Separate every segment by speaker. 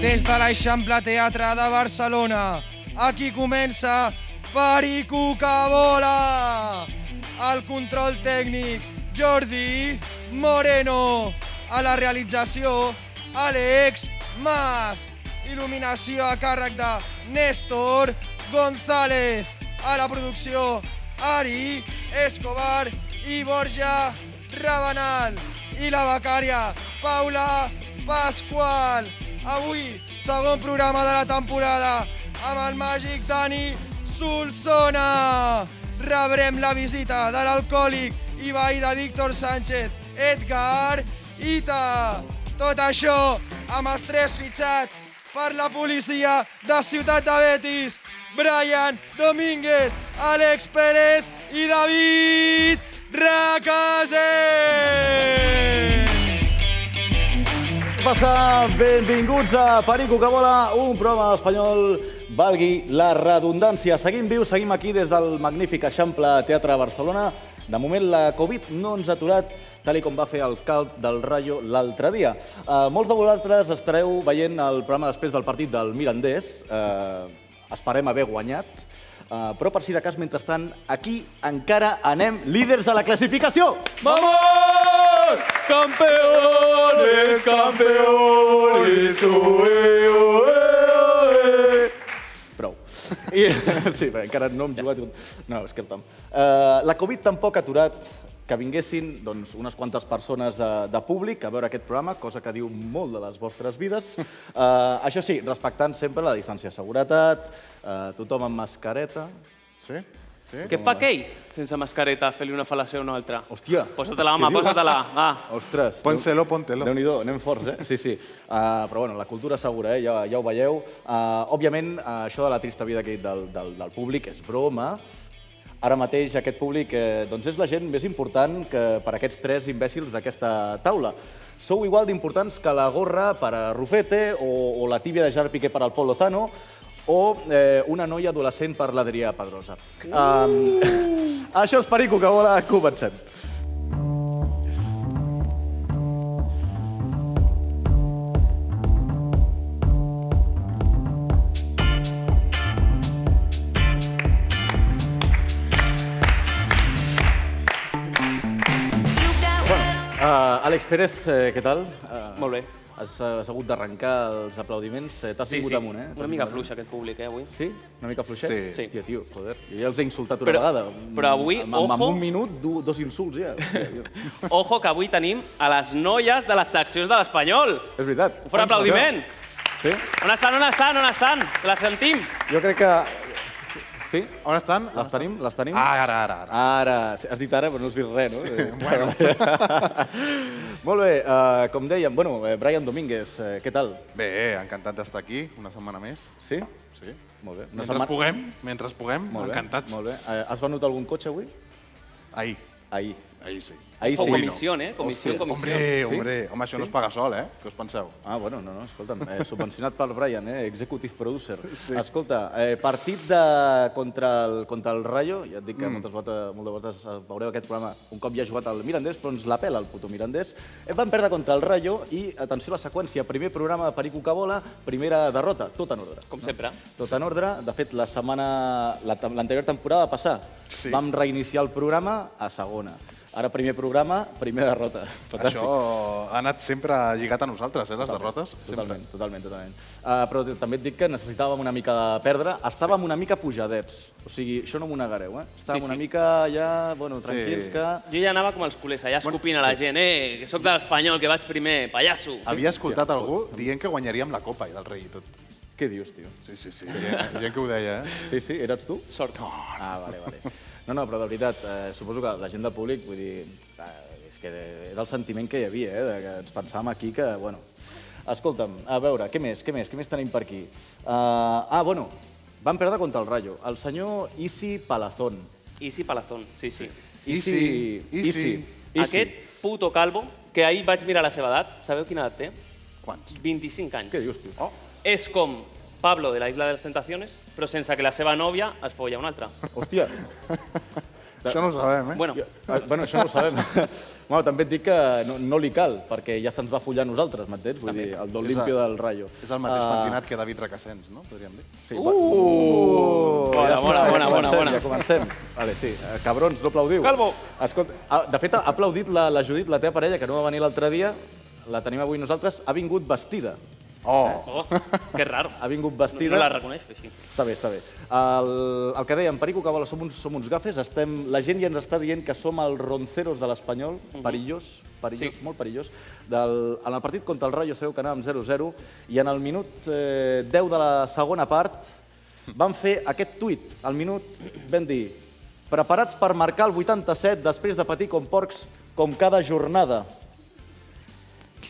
Speaker 1: des de l'Eixample Teatre de Barcelona. Aquí comença Perico que vola! El control tècnic Jordi Moreno. A la realització Àlex Mas. Il·luminació a càrrec de Néstor González. A la producció Ari Escobar i Borja Rabanal. I la becària Paula Pasqual. Avui, segon programa de la temporada amb el màgic Dani Solsona. Rebrem la visita de l'alcohòlic i veí de Víctor Sánchez, Edgar Ita. Tot això amb els tres fitxats per la policia de Ciutat de Betis, Brian Domínguez, Àlex Pérez i David Recases.
Speaker 2: Què passa? Benvinguts a Perico que vola, un programa espanyol valgui la redundància. Seguim vius, seguim aquí des del magnífic Eixample Teatre de Barcelona. De moment la Covid no ens ha aturat, tal i com va fer el calp del Rayo l'altre dia. Uh, molts de vosaltres estareu veient el programa després del partit del Mirandés. Uh, esperem haver guanyat. Uh, però per si de cas, mentrestant, aquí encara anem líders de la classificació!
Speaker 3: ¡Vamos! ¡Campeones, campeones! ¡Oe, oe, oe!
Speaker 2: Prou. I, sí, bé, encara no hem jugat... un- No, és que el tam. Uh, la Covid tampoc ha aturat que vinguessin doncs, unes quantes persones de, de públic a veure aquest programa, cosa que diu molt de les vostres vides. Uh, això sí, respectant sempre la distància de seguretat, uh, tothom amb mascareta... Sí? Sí?
Speaker 4: Què fa Kate sense mascareta? Fer-li una fal·lació a una altra.
Speaker 2: Hòstia!
Speaker 4: Posa-te-la,
Speaker 2: què
Speaker 4: home,
Speaker 2: dius?
Speaker 4: posa-te-la, va.
Speaker 2: Ostres,
Speaker 3: Pónselo,
Speaker 2: Déu-
Speaker 3: póntelo.
Speaker 2: Déu-n'hi-do, anem forts, eh? Sí, sí. Uh, però bueno, la cultura segura, eh? ja, ja ho veieu. Uh, òbviament, uh, això de la trista vida que he dit del, del, del públic és broma. Ara mateix aquest públic eh, doncs és la gent més important que per aquests tres imbècils d'aquesta taula. Sou igual d'importants que la gorra per a Rufete o, o la tíbia de Gerard Piqué per al Pol Lozano o eh, una noia adolescent per l'Adrià Pedrosa. Um, això és Perico que vola, comencem. Uh, Àlex Pérez, eh, què tal? Uh,
Speaker 4: Molt bé.
Speaker 2: Has, eh, has hagut d'arrencar els aplaudiments. Eh, T'has vingut amunt, eh?
Speaker 4: Una mica fluix aquest públic, eh, avui.
Speaker 2: Sí? Una mica fluixet?
Speaker 3: Sí.
Speaker 4: Sí.
Speaker 2: Hòstia, tio, joder. Jo ja els he insultat una
Speaker 4: Però-
Speaker 2: vegada.
Speaker 4: però avui,
Speaker 2: amb, amb,
Speaker 4: ojo.
Speaker 2: Amb un minut, du, dos insults, ja. Hòstia, tio.
Speaker 4: Ojo, que avui tenim a les noies de les seccions de l'Espanyol.
Speaker 2: és veritat.
Speaker 4: Un fort aplaudiment.
Speaker 2: Sí?
Speaker 4: On estan, on estan, on estan? Les sentim.
Speaker 2: Jo crec que... Sí?
Speaker 3: On estan?
Speaker 2: Les tenim? Les tenim?
Speaker 3: Ah, ara, ara, ara.
Speaker 2: Ara, has dit ara, però no has vist res, no? Sí, bueno. Molt bé, uh, com dèiem, bueno, eh, Brian Domínguez, eh, què tal?
Speaker 3: Bé, encantat d'estar aquí una setmana més.
Speaker 2: Sí?
Speaker 3: Sí.
Speaker 2: Molt bé. Una
Speaker 3: Mentre
Speaker 2: setmana-
Speaker 3: puguem, mentre puguem,
Speaker 2: Molt bé,
Speaker 3: encantats.
Speaker 2: Molt bé. Eh, Has venut algun cotxe avui?
Speaker 3: Ahir,
Speaker 2: Ahir.
Speaker 3: ahir sí.
Speaker 2: Ahir
Speaker 4: O
Speaker 2: sí.
Speaker 4: comissió, eh? Comissió,
Speaker 2: Hòstia,
Speaker 4: comissió.
Speaker 3: Hombre, hombre, home, això no es paga sol, eh? Què us penseu?
Speaker 2: Ah, bueno, no, no, escolta'm, eh, subvencionat pel Brian, eh, executive producer. Sí. Escolta, eh, partit de, contra, el, contra el Rayo, ja et dic que mm. moltes vegades, moltes vegades eh, veureu aquest programa un cop ja ha jugat al Mirandés, però ens la pela el puto Mirandés. Eh, van perdre contra el Rayo i, atenció a la seqüència, primer programa de Perico Cabola, primera derrota, tot en ordre.
Speaker 4: Com sempre.
Speaker 2: Tot en ordre. De fet, la setmana... la tem- l'anterior temporada passar.
Speaker 3: Sí.
Speaker 2: Vam reiniciar el programa a segona. Ara primer programa, primera derrota. Fantàstic.
Speaker 3: Això ha anat sempre lligat a nosaltres, eh, les derrotes. Sempre.
Speaker 2: Totalment, totalment, totalment. Uh, però t- també et dic que necessitàvem una mica de perdre. Estàvem una mica pujadets. O sigui, això no m'ho negareu, eh? Estàvem
Speaker 4: Sí, sí.
Speaker 2: una mica ja, bueno, tranquils,
Speaker 3: Sí.
Speaker 2: que...
Speaker 4: Jo ja anava com els culers, allà escopint a la gent, eh, que sóc de l'Espanyol, que vaig primer, pallasso.
Speaker 2: Ah.
Speaker 3: Havia escoltat algú dient que guanyaríem la Copa i del Rei i tot.
Speaker 2: Què dius, tio?
Speaker 3: Sí, sí, sí. Gent, gent que ho deia, eh?
Speaker 2: Sí, sí, eres tu?
Speaker 4: Sort.
Speaker 2: Ah, vale, vale. No, no, però de veritat, eh, suposo que la gent del públic, vull dir, eh, és que era el sentiment que hi havia, eh, de que ens pensàvem aquí que, bueno... Escolta'm, a veure, què més, què més, què més tenim per aquí? Uh, ah, bueno, van perdre contra el Rayo. El senyor Isi Palazón.
Speaker 4: I sí, Palazón, sí, sí.
Speaker 2: Isi,
Speaker 3: Isi, Isi.
Speaker 2: Isi.
Speaker 4: Aquest puto calvo, que ahir vaig mirar la seva edat, sabeu quina edat té?
Speaker 3: Quants?
Speaker 4: 25 anys.
Speaker 2: Què dius, tu?
Speaker 3: Oh,
Speaker 4: És com Pablo de la Isla de les Tentaciones, però sense que la seva nòvia es folla una altra.
Speaker 2: Hòstia,
Speaker 3: Això no ho sabem, eh?
Speaker 4: Bueno,
Speaker 2: Jo- eh, Bueno, això no ho sabem. bueno, també et dic que no, no li cal, perquè ja se'ns va follar a nosaltres, m'entens? Vull dir, el Don
Speaker 3: És a-
Speaker 2: Limpio del Rayo.
Speaker 3: És el mateix
Speaker 2: Ah,
Speaker 3: pentinat que David Racassens, no? Podríem dir.
Speaker 2: Sí, va- Uh,
Speaker 4: Bona,
Speaker 2: està,
Speaker 4: bona, bona, bona,
Speaker 2: comencem,
Speaker 4: bona.
Speaker 2: Ja comencem. Vale, sí. eh, Cabrons, no aplaudiu.
Speaker 4: Calvo.
Speaker 2: Escolta, ah, de fet, ha aplaudit la, la Judit, la teva parella, que no va venir l'altre dia. La tenim avui nosaltres. Ha vingut vestida. Eh?
Speaker 3: Oh!
Speaker 4: oh, que raro.
Speaker 2: Ha vingut
Speaker 4: No-
Speaker 2: vestida.
Speaker 4: No la reconeixo així.
Speaker 2: Està bé, està bé. El, el que dèiem, Perico Cabola, som uns, som uns gafes, estem, la gent ja ens està dient que som els ronceros de l'Espanyol, perillós, perillós,
Speaker 4: Mhm. Sí.
Speaker 2: molt perillós. Del, en el partit contra el Rayo sabeu que anàvem 0-0 i en el minut eh, 10 de la segona part van fer aquest tuit. Al minut vam dir preparats per marcar el 87 després de patir com porcs com cada jornada.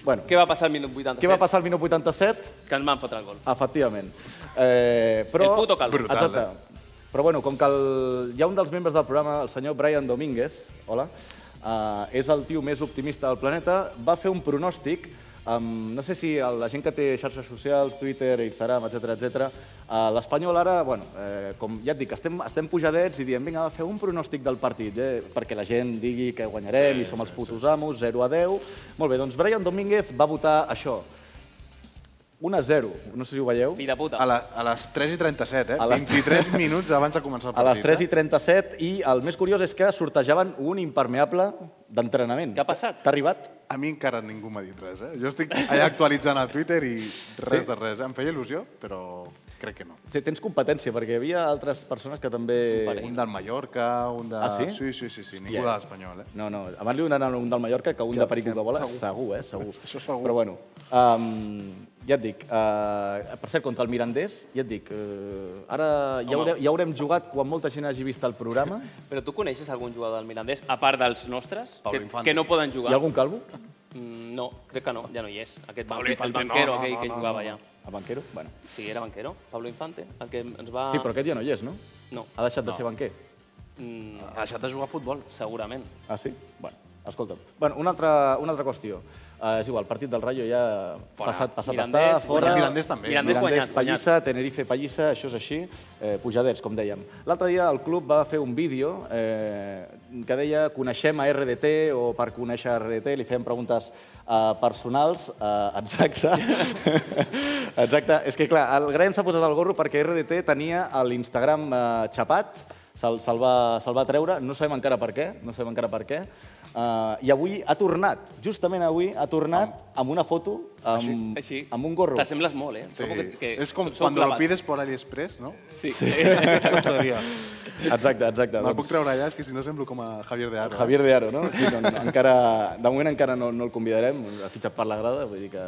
Speaker 2: Bueno,
Speaker 4: Què va passar al minut 87?
Speaker 2: què va passar al minut 87?
Speaker 4: Que ens van fotre el gol.
Speaker 2: Efectivament. Eh, però...
Speaker 4: El puto calvo.
Speaker 3: Brutal,
Speaker 2: Exacte. tota. Però bueno, com que el... hi ha un dels membres del programa, el senyor Brian Domínguez, hola, eh, és el tio més optimista del planeta, va fer un pronòstic amb, no sé si el- la gent que té xarxes socials, Twitter, Instagram, etc etc. Eh, L'Espanyol ara, bueno, eh, com ja et dic, estem, estem pujadets i diem, vinga, va, feu un pronòstic del partit, eh, perquè la gent digui que guanyarem i som els putos amos, 0 a 10. Molt bé, doncs Brian Domínguez va votar això, 1 a 0, no sé si ho veieu.
Speaker 4: Fill de puta.
Speaker 3: A, la, a les 3 i 37, eh?
Speaker 2: A les-
Speaker 3: 23 minuts abans de començar el
Speaker 2: A les
Speaker 3: partit.
Speaker 2: 3
Speaker 3: eh?
Speaker 2: i 37 i el més curiós és que sortejaven un impermeable d'entrenament.
Speaker 4: Què ha passat?
Speaker 2: T'ha arribat?
Speaker 3: eh? A mi encara ningú m'ha dit res, eh? Jo estic allà actualitzant a Twitter i res de res. eh? Em feia il·lusió, però crec que no.
Speaker 2: Té- Tens competència, perquè hi havia altres persones que també...
Speaker 3: Un del Mallorca, un de...
Speaker 2: Eh. Ah, sí?
Speaker 3: Sí, sí, sí, sí.
Speaker 2: Hòstia.
Speaker 3: Ningú de l'Espanyol, eh?
Speaker 2: No, no, abans li donaran un del Mallorca que un de Perico que vola, segur, eh? Segur.
Speaker 3: Això segur.
Speaker 2: Però bueno, um, ja et dic, uh, per cert, contra el Mirandés, ja et dic, uh, ara ja, haurem, ja haurem jugat quan molta gent hagi vist el programa.
Speaker 4: Però tu coneixes algun jugador del Mirandés, a part dels nostres,
Speaker 3: Pablo
Speaker 4: que,
Speaker 3: Infante.
Speaker 4: que no poden
Speaker 2: Hi
Speaker 4: jugar?
Speaker 2: ha algun calvo?
Speaker 4: Mm, No, crec que no, ja no hi és. Aquest
Speaker 3: Pablo
Speaker 4: banquer, el
Speaker 3: Infante, no,
Speaker 4: banquero
Speaker 3: no,
Speaker 4: aquell
Speaker 3: no,
Speaker 4: que
Speaker 3: no, no.
Speaker 4: jugava allà.
Speaker 2: A banquero? Bueno.
Speaker 4: Sí, era banquero, Pablo Infante, el que ens va...
Speaker 2: Sí, però aquest ja no hi és, no?
Speaker 4: Ah. No.
Speaker 2: Ha deixat de ser banquer.
Speaker 4: Mm,
Speaker 3: Ha deixat de jugar a futbol.
Speaker 4: segurament.
Speaker 2: Ah, sí? Bueno, escolta'm. Bueno, una altra, una altra qüestió. Uh, és igual, el partit del Rayo ja
Speaker 4: Fora.
Speaker 2: passat, passat
Speaker 4: Mirandés,
Speaker 2: està, fora.
Speaker 3: guanyat. Mirandés també.
Speaker 4: Mirandés guanyat, guanyat.
Speaker 2: Pallissa, Tenerife, Pallissa, això és així, eh, pujadets, com dèiem. L'altre dia el club va fer un vídeo eh, que deia coneixem a RDT o per conèixer a RDT li fèiem preguntes eh, personals, eh, exacte. exacte, és que clar, el Graen s'ha posat el gorro perquè RDT tenia l'Instagram eh, xapat, se'l se va, se va treure, no sabem encara per què, no sabem encara per què, eh, i avui ha tornat, justament avui ha tornat amb una foto amb,
Speaker 4: Així.
Speaker 2: amb un gorro.
Speaker 4: T'assembles molt, eh?
Speaker 3: Sí.
Speaker 4: Trobo Que, que
Speaker 3: és com
Speaker 4: sou- sou
Speaker 3: quan lo
Speaker 4: clavats.
Speaker 3: pides por AliExpress, no?
Speaker 4: Sí.
Speaker 3: L'altre dia.
Speaker 2: Exacte, exacte.
Speaker 3: Me'l
Speaker 2: Doncs,
Speaker 3: puc treure allà, és que si no semblo com a Javier de Aro.
Speaker 2: Javier de Aro, no? Sí, no, no encara, de moment encara no, no el convidarem, ha fitxat per la grada, vull dir que...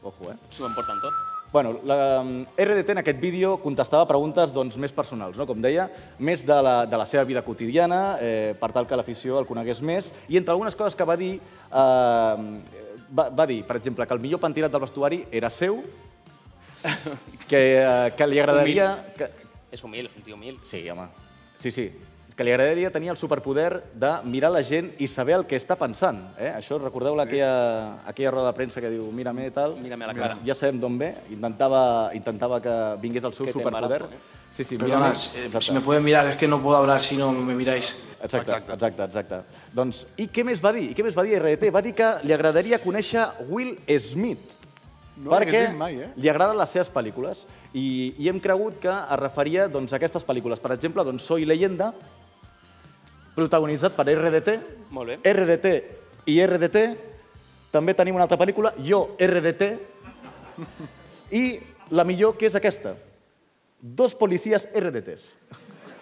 Speaker 2: Ojo, eh?
Speaker 4: S'ho emporten tot.
Speaker 2: Bueno, la mm, RDT en aquest vídeo contestava preguntes doncs, més personals, no? com deia, més de la, de la seva vida quotidiana, eh, per tal que l'afició el conegués més, i entre algunes coses que va dir, eh, va, va dir, per exemple, que el millor pentinat del vestuari era seu, que, eh, que li agradaria... Que,
Speaker 4: És humil, és un tio humil.
Speaker 2: Sí, home. Sí, sí. Que li agradaria tenir el superpoder de mirar la gent i saber el que està pensant. Eh? Això, recordeu-la, sí. aquella, aquella roda de premsa que diu mira-me i tal. Doncs
Speaker 4: Mira-me a la cara.
Speaker 2: Ja sabem d'on ve. Intentava, intentava que vingués el seu
Speaker 4: Que te
Speaker 2: superpoder.
Speaker 4: embarazo, eh?
Speaker 2: Sí, sí,
Speaker 5: Perdona,
Speaker 2: mira-me.
Speaker 5: eh,
Speaker 2: Exacte.
Speaker 5: si me pueden mirar, es que no puedo hablar si no me miráis.
Speaker 2: Exacte, exacte, exacte, exacte. Doncs, i què més va dir? I què més va dir RDT? Va dir que li agradaria conèixer Will Smith.
Speaker 3: No
Speaker 2: perquè
Speaker 3: l'hagués dit mai, eh?
Speaker 2: li agraden les seves pel·lícules i, i hem cregut que es referia doncs, a aquestes pel·lícules. Per exemple, doncs, Soy leyenda, protagonitzat per RDT.
Speaker 4: Molt bé.
Speaker 2: RDT i RDT. També tenim una altra pel·lícula, Jo, RDT. I la millor, que és aquesta. Dos policies RDTs.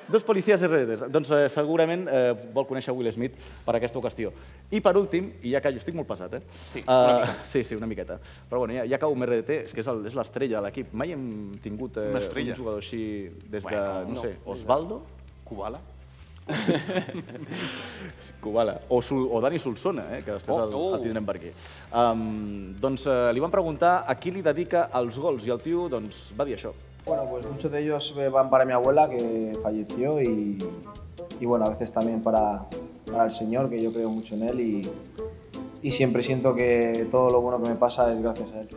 Speaker 2: Dos policies RDTs. Doncs eh, segurament eh, vol conèixer Will Smith per aquesta ocasió. I per últim, i ja que jo estic molt pesat, eh?
Speaker 4: Sí, una
Speaker 2: Eh, sí, sí, una miqueta. Però bueno, ja, ja acabo amb RDT, és que és el- és l'estrella de l'equip. Mai hem tingut eh,
Speaker 3: Una estrella.
Speaker 2: un jugador així des de,
Speaker 3: Bueno,
Speaker 2: no,
Speaker 4: no.
Speaker 2: sé, Osvaldo,
Speaker 3: Kubala?
Speaker 2: Kubala, o, Sul, o Dani Solsona, eh, que després
Speaker 4: Oh,
Speaker 2: el,
Speaker 4: oh.
Speaker 2: el tindrem per aquí. Um, doncs eh, li van preguntar a qui li dedica els gols i el tio doncs, va dir això.
Speaker 6: Bueno, pues muchos de ellos eh, van para mi abuela que falleció y, y bueno, a veces también para, para el Señor, que yo creo mucho en Él y, y siempre siento que todo lo bueno que me pasa es gracias a Él.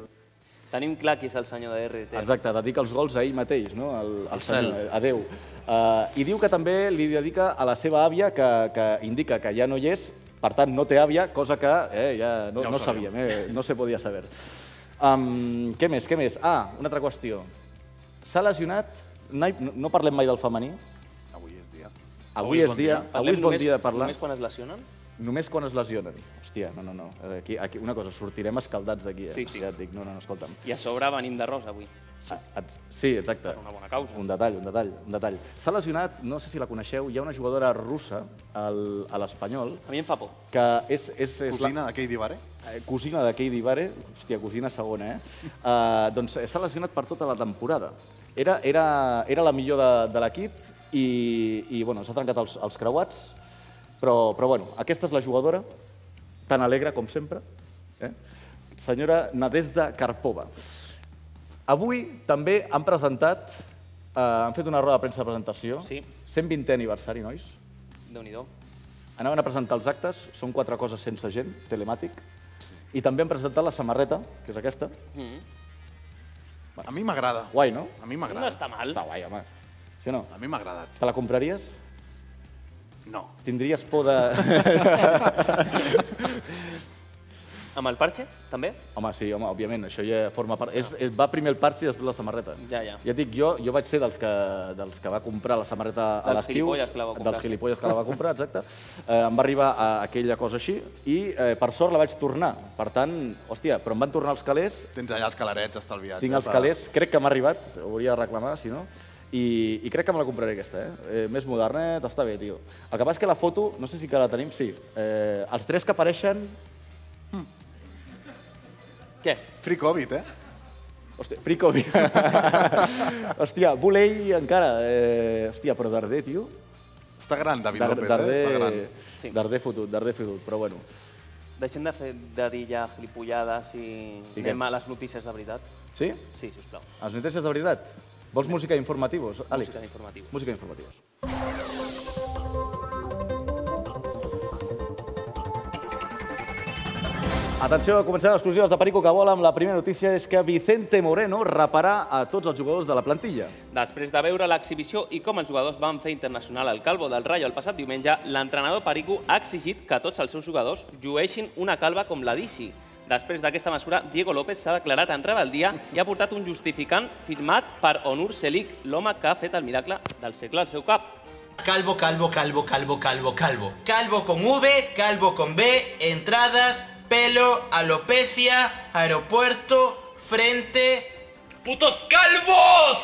Speaker 4: Tenim clar qui és el senyor de RT.
Speaker 2: Exacte, dedica els gols a ell mateix, no? Al, al senyor, a Déu. Uh, I diu que també li dedica a la seva àvia, que, que indica que ja no hi és, per tant, no té àvia, cosa que eh, ja no,
Speaker 3: Ja ho
Speaker 2: no sabíem, eh, no se podia saber. Um, què més, què més? Ah, una altra qüestió. S'ha lesionat, no, hi- no parlem mai del femení,
Speaker 3: Avui és dia.
Speaker 2: avui, avui és,
Speaker 3: bon
Speaker 2: dia, avui és bon dia de parlar.
Speaker 4: Només quan es lesionen?
Speaker 2: Només quan es lesionen. Hòstia, no, no, no. Aquí, aquí, una cosa, sortirem escaldats d'aquí. Eh?
Speaker 4: Sí, sí.
Speaker 2: Ja et dic, no, no, no, escolta'm.
Speaker 4: I a sobre venim de Rosa avui.
Speaker 2: Sí, sí exacte.
Speaker 4: Per una bona causa.
Speaker 2: Un detall, un detall, un detall. S'ha lesionat, no sé si la coneixeu, hi ha una jugadora russa al, a l'Espanyol
Speaker 4: A mi em fa por.
Speaker 2: que és, és, és
Speaker 3: Cosina de Katie Baré?
Speaker 2: la, eh, cosina de Katie Vare, hòstia, cosina segona, eh? Uh, doncs eh, s'ha lesionat per tota la temporada. Era, era, era la millor de, de l'equip i, i bueno, s'ha trencat els, els creuats, però, però bueno, aquesta és la jugadora, tan alegre com sempre, eh? senyora Nadezda Karpova. Avui també han presentat, eh, han fet una roda de premsa de presentació,
Speaker 4: Sí.
Speaker 2: 120è aniversari, nois.
Speaker 4: déu nhi
Speaker 2: Anaven a presentar els actes, són quatre coses sense gent, telemàtic, i també han presentat la samarreta, que és aquesta.
Speaker 4: Mm.
Speaker 3: A mi m'agrada.
Speaker 2: Guai, no?
Speaker 3: A mi
Speaker 4: No
Speaker 3: m'agrada.
Speaker 4: està mal.
Speaker 2: Està guai, home. Sí o no?
Speaker 3: A mi m'ha agradat.
Speaker 2: Te la compraries?
Speaker 3: No.
Speaker 2: Tindries por de...
Speaker 4: Amb el parche, també?
Speaker 2: home, sí, home, òbviament, això ja forma part... És, és, va primer el parche i després la samarreta.
Speaker 4: Ja, ja.
Speaker 2: Ja et dic, jo, jo vaig ser dels que, dels que va comprar la samarreta a
Speaker 4: Dels
Speaker 2: l'estiu.
Speaker 4: gilipolles que la va comprar.
Speaker 2: Dels gilipolles que la va comprar, exacte. Eh, em va arribar a aquella cosa així i, eh, per sort, la vaig tornar. Per tant, hòstia, però em van tornar els calés
Speaker 3: Tens allà els calarets estalviats.
Speaker 2: Tinc
Speaker 3: eh,
Speaker 2: els
Speaker 3: per-
Speaker 2: calés, crec que m'ha arribat, ho hauria de reclamar, si no. I, I crec que me la compraré aquesta, eh? eh més modernet, està bé, tio. El que passa és que la foto, no sé si que la tenim, sí. Eh, els tres que apareixen...
Speaker 4: Què?
Speaker 3: Free Covid, eh?
Speaker 2: Hòstia, Fricovi. hòstia, Bulei encara. Eh, hòstia, però Darder, tio.
Speaker 3: Està gran, David
Speaker 2: Dar-
Speaker 3: López,
Speaker 2: Darder,
Speaker 3: eh? Està gran.
Speaker 4: Sí.
Speaker 2: Darder fotut, Darder fotut, però bueno.
Speaker 4: Deixem de, fer, de dir ja gilipollades i,
Speaker 2: I
Speaker 4: I
Speaker 2: què?
Speaker 4: anem a les notícies de veritat.
Speaker 2: Sí?
Speaker 4: Sí, sisplau.
Speaker 2: Els notícies de veritat? Vols música informativos, Àlex?
Speaker 4: Música informativa.
Speaker 2: Música informativos. Atenció, comencem les exclusives de Perico que vola amb la primera notícia és que Vicente Moreno reparà a tots els jugadors de la plantilla.
Speaker 4: Després de veure l'exhibició i com els jugadors van fer internacional al Calvo del Rayo el passat diumenge, l'entrenador Perico ha exigit que tots els seus jugadors llueixin una calva com la d'Isi. Després d'aquesta mesura, Diego López s'ha declarat en rebel·lia i ha portat un justificant firmat per Onur Selic, l'home que ha fet el miracle del segle al seu cap.
Speaker 7: Calvo, calvo, calvo, calvo, calvo, calvo. Calvo con V, calvo con B, entradas, pelo, alopecia, aeropuerto, frente.
Speaker 4: ¡Putos calvos!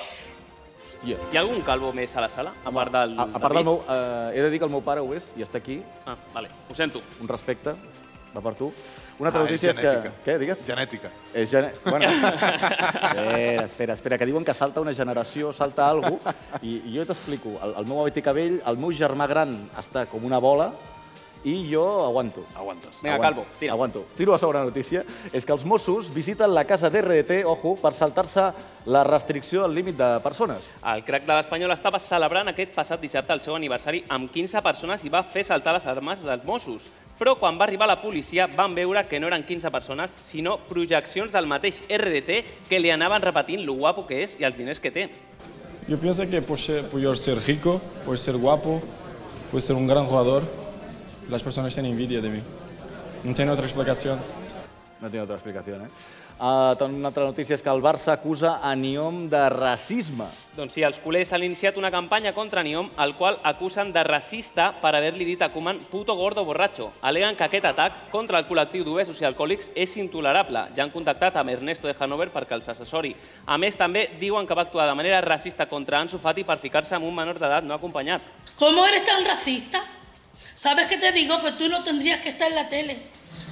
Speaker 2: Hòstia.
Speaker 4: Hi ha algun calvo més a la sala? A part del...
Speaker 2: A, a part del meu... Eh, he de dir que el meu pare ho és i està aquí.
Speaker 4: Ah, vale, ho sento.
Speaker 2: Un respecte. Va per tu. Una altra
Speaker 3: Ah, és
Speaker 2: notícia és, que...
Speaker 3: genètica.
Speaker 2: Què, digues?
Speaker 3: Genètica.
Speaker 2: És Eh, gene... Bueno, espera, espera, espera, que diuen que salta una generació, salta algú, i, i jo t'explico, el, el meu avi té cabell, el meu germà gran està com una bola, i jo aguanto.
Speaker 3: Aguantes.
Speaker 4: Vinga,
Speaker 2: Aguanto,
Speaker 4: Calvo, tira.
Speaker 2: Aguanto. Tiro la segona notícia. És que els Mossos visiten la casa d'RDT, ojo, per saltar-se la restricció al límit de persones.
Speaker 4: El crack de l'Espanyol estava celebrant aquest passat dissabte el seu aniversari amb 15 persones i va fer saltar les armes dels Mossos. Però quan va arribar la policia van veure que no eren 15 persones, sinó projeccions del mateix RDT que li anaven repetint lo guapo que és i els diners que té.
Speaker 8: Yo pienso que por ser, por yo ser rico, por ser guapo, por ser un gran jugador, las personas tienen envidia de mí. No tiene otra explicación.
Speaker 2: No tinc altra explicació, eh? Uh, una altra notícia és que el Barça acusa a Niom de racisme.
Speaker 4: Doncs sí, els culers han iniciat una campanya contra Niom, al qual acusen de racista per haver-li dit a Koeman puto gordo borratxo. Aleguen que aquest atac contra el col·lectiu d'obesos i alcohòlics és intolerable. Ja han contactat amb Ernesto de Hanover perquè els assessori. A més, també diuen que va actuar de manera racista contra Ansu Fati per ficar-se amb un menor d'edat no acompanyat.
Speaker 9: ¿Cómo eres tan racista? ¿Sabes que te digo? Que tú no tendrías que estar en la tele.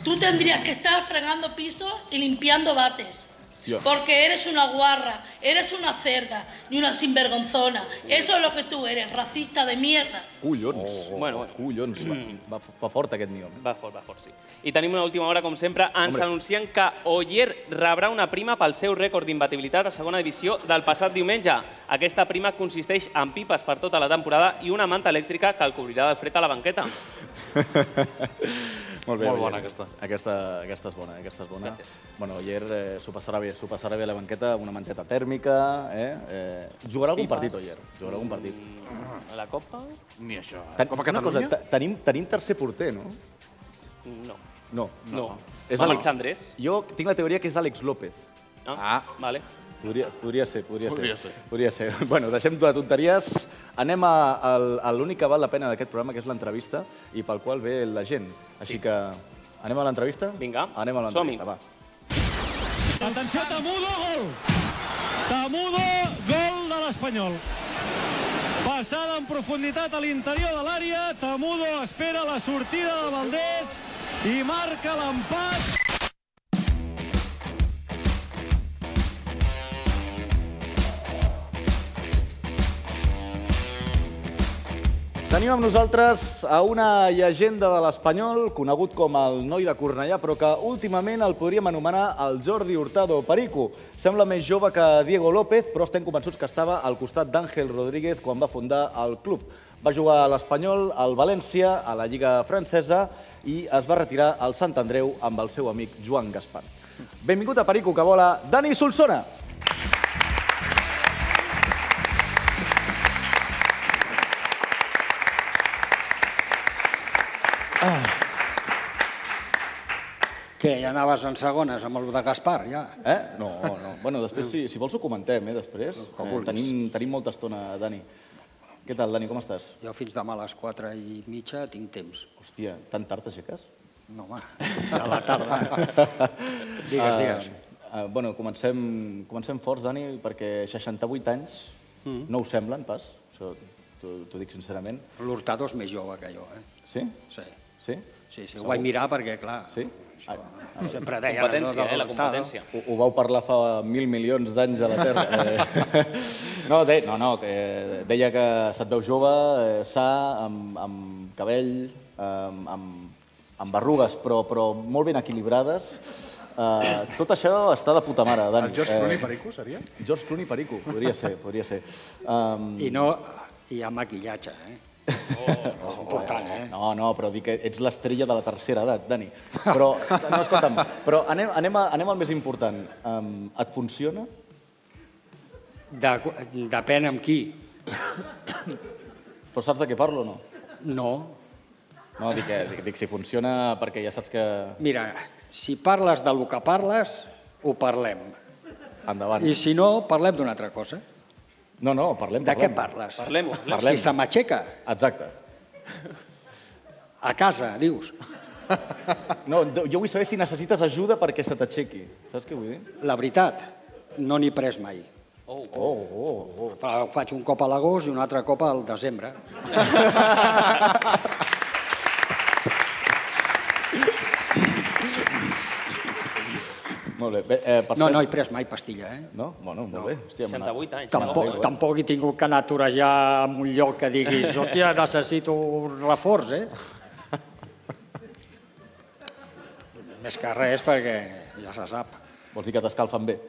Speaker 9: Tú tendrías que estar fregando pisos y limpiando bates.
Speaker 2: Yo.
Speaker 9: Porque eres una guarra, eres una cerda y una sinvergonzona. Eso es lo que tú eres, racista de mierda.
Speaker 2: Collons.
Speaker 3: Oh,
Speaker 4: Bueno, bueno.
Speaker 2: Collons. Va, va, va fort aquest Niom. eh?
Speaker 4: Va fort, va fort, sí. I tenim una última hora, com sempre. Ens
Speaker 2: Hombre.
Speaker 4: anuncien que Oyer rebrà una prima pel seu rècord d'imbatibilitat a segona divisió del passat diumenge. Aquesta prima consisteix en pipes per tota la temporada i una manta elèctrica que el cobrirà del fred a la banqueta.
Speaker 2: Molt bé,
Speaker 3: Molt
Speaker 2: Oller.
Speaker 3: bona aquesta.
Speaker 2: aquesta. Aquesta és bona, aquesta és bona.
Speaker 4: Gràcies.
Speaker 2: Bueno, Oller eh, s'ho passarà bé, s'ho passarà bé a la banqueta, amb una manteta tèrmica, eh? eh jugarà algun
Speaker 4: Pipes.
Speaker 2: partit, Oller, jugarà algun partit.
Speaker 4: Mm. A la Copa?
Speaker 3: Ni això. eh?
Speaker 2: Ten,
Speaker 3: Copa
Speaker 2: una cosa,
Speaker 3: Catalunya?
Speaker 2: te- tenim, tenim tercer porter, no?
Speaker 4: No.
Speaker 2: No.
Speaker 4: No.
Speaker 2: És
Speaker 4: Àlex
Speaker 2: la-
Speaker 4: Andrés.
Speaker 2: Jo tinc la teoria que és Àlex López.
Speaker 4: Ah, vale.
Speaker 2: Podria, podria ser, podria,
Speaker 3: Podria
Speaker 2: ser.
Speaker 3: ser.
Speaker 2: Podria ser. Bueno, deixem de tonteries. Anem a, al- a l'únic que val la pena d'aquest programa, que és l'entrevista, i pel qual ve la gent. Així que anem a l'entrevista?
Speaker 4: Vinga,
Speaker 2: Anem a
Speaker 4: som-hi.
Speaker 2: l'entrevista, va.
Speaker 8: Atenció, Tamudo, gol! Tamudo, gol de l'Espanyol. Passada en profunditat a l'interior de l'àrea, Tamudo espera la sortida de Valdés i marca l'empat.
Speaker 2: Tenim amb nosaltres a una llegenda de l'Espanyol, conegut com el noi de Cornellà, però que últimament el podríem anomenar el Jordi Hurtado Perico. Sembla més jove que Diego López, però estem convençuts que estava al costat d'Àngel Rodríguez quan va fundar el club. Va jugar a l'Espanyol, al València, a la Lliga Francesa i es va retirar al Sant Andreu amb el seu amic Joan Gaspar. Benvingut a Perico, que vola Dani Solsona.
Speaker 8: Què, ja anaves en segones amb el de Gaspar, ja?
Speaker 2: Eh? No, no. Bueno, després, si, si vols, ho comentem, eh, després. Eh, tenim, tenim molta estona, Dani. Què tal, Dani, com estàs?
Speaker 8: Jo fins demà a les 4 i mitja tinc temps.
Speaker 2: Hòstia, tan tard t'aixeques?
Speaker 8: No, home, a la tarda. Digues, digues.
Speaker 2: Uh, bueno, comencem, comencem forts, Dani, perquè 68 anys
Speaker 8: Mm.
Speaker 2: no ho semblen, pas. Això t'ho t'ho dic sincerament.
Speaker 8: L'Hurtado és més jove que jo, eh?
Speaker 2: Sí?
Speaker 8: Sí,
Speaker 2: Sí?
Speaker 8: sí, sí. Ho vaig mirar perquè, clar,
Speaker 2: Sí? Ah,
Speaker 8: sempre deia...
Speaker 4: Competència, eh, la competència.
Speaker 2: ho, ho vau parlar fa mil milions d'anys a la Terra. Eh, no, de, no, no, que deia que se't veu jove, eh, sa, amb, amb cabell, eh, amb, amb barrugues, però, però molt ben equilibrades. Eh, tot això està de puta mare, Dani. Eh,
Speaker 3: El George Clooney Perico seria?
Speaker 2: George Clooney Perico, podria ser, podria ser. Um,
Speaker 8: I no... I amb maquillatge, eh? Oh, és important, eh?
Speaker 2: No, no, però dic que ets l'estrella de la tercera edat, Dani. Però, no, escolta'm, però anem, anem, a, anem al més important. Um, et funciona?
Speaker 8: De, depèn amb qui.
Speaker 2: Però saps de què parlo o no?
Speaker 8: No.
Speaker 2: No, dic, que- dic, dic si funciona perquè ja saps que...
Speaker 8: Mira, si parles del que parles, ho parlem.
Speaker 2: Endavant.
Speaker 8: I si no, parlem d'una altra cosa.
Speaker 2: No, no, parlem,
Speaker 8: De què
Speaker 2: parlem.
Speaker 8: parles?
Speaker 4: Parlem-ho.
Speaker 2: Parlem.
Speaker 8: Si se m'aixeca,
Speaker 2: Exacte.
Speaker 8: a casa, dius.
Speaker 2: No, jo jo vull saber si necessites ajuda perquè se t'aixequi. Saps què vull dir?
Speaker 8: La veritat, no n'hi he pres mai.
Speaker 2: Oh, oh, oh.
Speaker 8: Però ho faig un cop a l'agost i un altre cop al desembre.
Speaker 2: Molt bé. bé eh, per
Speaker 8: No,
Speaker 2: cert-
Speaker 8: no he pres mai pastilla, eh?
Speaker 2: No? Bueno, molt bé. Hòstia, m'ha anat.
Speaker 4: 68 anys.
Speaker 8: Tampoc,
Speaker 2: no.
Speaker 8: tampoc he tingut que anar a torejar en un lloc que diguis, hòstia, necessito un reforç, eh? Més que res perquè ja se sap.
Speaker 2: Vols dir que t'escalfen bé?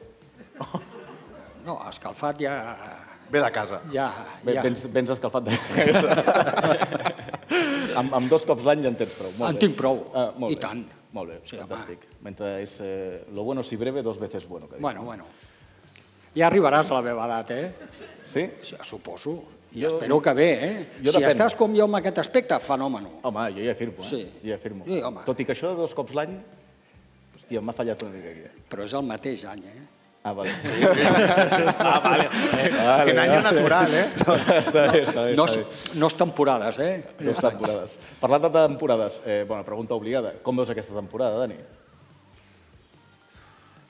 Speaker 8: No, escalfat ja...
Speaker 3: Ve de casa.
Speaker 8: ja,
Speaker 2: Ben,
Speaker 8: ja.
Speaker 2: Vens, vens escalfat de amb, amb dos cops l'any ja en tens prou. Molt
Speaker 8: En
Speaker 2: bé.
Speaker 8: tinc prou,
Speaker 2: Ah, molt
Speaker 8: i
Speaker 2: bé.
Speaker 8: tant.
Speaker 2: Molt bé,
Speaker 8: Sí, home.
Speaker 2: fantàstic. Mentre és eh, lo bueno si breve, dos veces bueno. Que dic.
Speaker 8: Bueno, bueno. Ja arribaràs a la meva edat, eh?
Speaker 2: Sí?
Speaker 8: Ja, suposo. I
Speaker 2: Jo-
Speaker 8: espero que bé, eh?
Speaker 2: jo
Speaker 8: si
Speaker 2: depèn.
Speaker 8: estàs com jo en aquest aspecte, fenòmeno.
Speaker 2: Home, jo ja afirmo, eh?
Speaker 8: Sí.
Speaker 2: Jo ja afirmo.
Speaker 8: Sí, home.
Speaker 2: Tot i que això de dos cops l'any... Hòstia, m'ha fallat una mica aquí. eh?
Speaker 8: Però és el mateix any, eh?
Speaker 2: Ah, vale.
Speaker 4: Ah, vale. joder.
Speaker 2: vale Quin any natural, eh? està bé, està bé.
Speaker 8: No,
Speaker 2: està
Speaker 8: és-
Speaker 2: bé.
Speaker 8: no és temporades, eh?
Speaker 2: Dos temporades. Parlant de temporades, eh, bona pregunta obligada. Com veus aquesta temporada, Dani?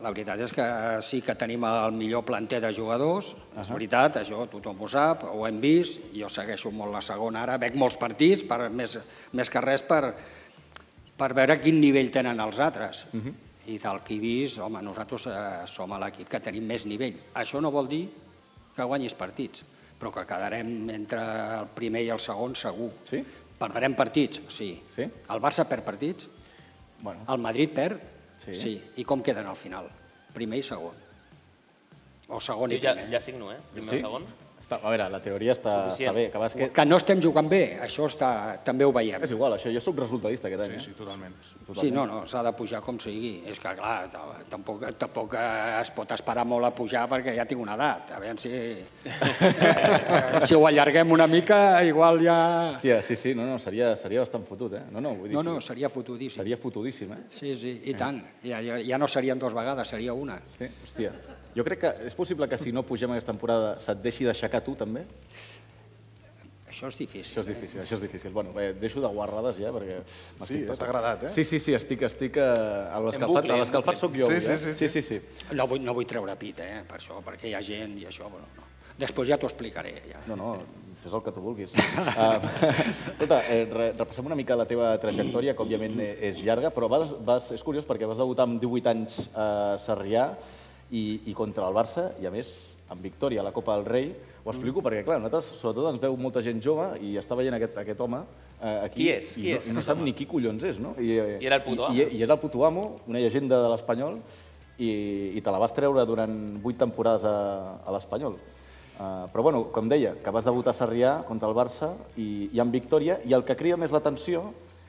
Speaker 8: La veritat és que sí que tenim el millor planter de jugadors, és veritat, això tothom ho sap, ho hem vist, jo segueixo molt la segona ara, veig molts partits, per, més, més que res per, per veure quin nivell tenen els altres.
Speaker 2: Mhm.
Speaker 8: I del que he vist, home, nosaltres eh, som a l'equip que tenim més nivell. Això no vol dir que guanyis partits, però que quedarem entre el primer i el segon segur.
Speaker 2: Sí?
Speaker 8: Perdrem partits, sí.
Speaker 2: Sí?
Speaker 8: El Barça perd partits,
Speaker 2: Bueno,
Speaker 8: el Madrid perd?
Speaker 2: Sí.
Speaker 8: sí. I com queden al final? Primer i segon? O segon
Speaker 4: Jo
Speaker 8: i
Speaker 4: ja,
Speaker 8: primer?
Speaker 4: ja signo, eh? Primer o
Speaker 2: Sí?
Speaker 4: segon.
Speaker 2: Està- A veure, la teoria està,
Speaker 10: Suficient.
Speaker 2: està bé. Que, bàsquet...
Speaker 10: Que no estem jugant bé, això està, també ho veiem.
Speaker 2: És igual, això, jo sóc resultadista aquest any. eh? Sí,
Speaker 3: sí, totalment.
Speaker 10: Sí, no, no, s'ha de pujar com sigui. És que, clar, t- tampoc, tampoc eh, es pot esperar molt a pujar perquè ja tinc una edat. A veure si, eh, si ho allarguem una mica, igual ja...
Speaker 2: Hòstia, sí, sí, no, no, seria, seria bastant fotut, eh? No, no, vull dir,
Speaker 10: No, no, seria fotudíssim.
Speaker 2: seria fotudíssim, eh?
Speaker 10: Sí, sí, i tant. Ja, ja, ja no serien dues vegades, seria una.
Speaker 2: Sí, hòstia. Jo crec que és possible que si no pugem aquesta temporada se't deixi d'aixecar tu, també?
Speaker 10: Això és difícil.
Speaker 2: Això és difícil, això és difícil. Bueno, eh, deixo de guarrades ja, perquè... m'estic
Speaker 3: Sí, eh?
Speaker 2: passant.
Speaker 3: T'ha agradat, eh?
Speaker 2: Sí, sí, sí, estic, estic eh, a l'escalfat,
Speaker 10: bucle,
Speaker 2: a
Speaker 10: en
Speaker 2: l'escalfat
Speaker 10: bucle.
Speaker 2: sóc jo. avui,
Speaker 10: Sí, sí,
Speaker 2: eh?
Speaker 10: sí,
Speaker 2: sí, sí, sí.
Speaker 10: No vull, no vull treure pit, eh, per això, perquè hi ha gent i això, però no. Després ja t'ho explicaré, ja.
Speaker 2: No, no, fes el que tu vulguis. Ah, Escolta, eh, re- repassem una mica la teva trajectòria, que òbviament eh, és llarga, però vas, vas, és curiós perquè vas debutar amb 18 anys a Sarrià i, i contra el Barça, i a més amb victòria a la Copa del Rei. Ho explico perquè, clar, nosaltres sobretot ens veu molta gent jove i està veient aquest, aquest home eh, aquí.
Speaker 4: Qui és?
Speaker 2: I
Speaker 4: Qui
Speaker 2: no,
Speaker 4: és
Speaker 2: I no
Speaker 4: aquest
Speaker 2: sap ni qui collons és, no? I, eh,
Speaker 4: I era el puto
Speaker 2: i, i, i era el puto amo, una llegenda de l'Espanyol, i, i te la vas treure durant vuit temporades a, a l'Espanyol. Uh, però bueno, com deia, que vas debutar a Sarrià contra el Barça i, i amb victòria, i el que crida més l'atenció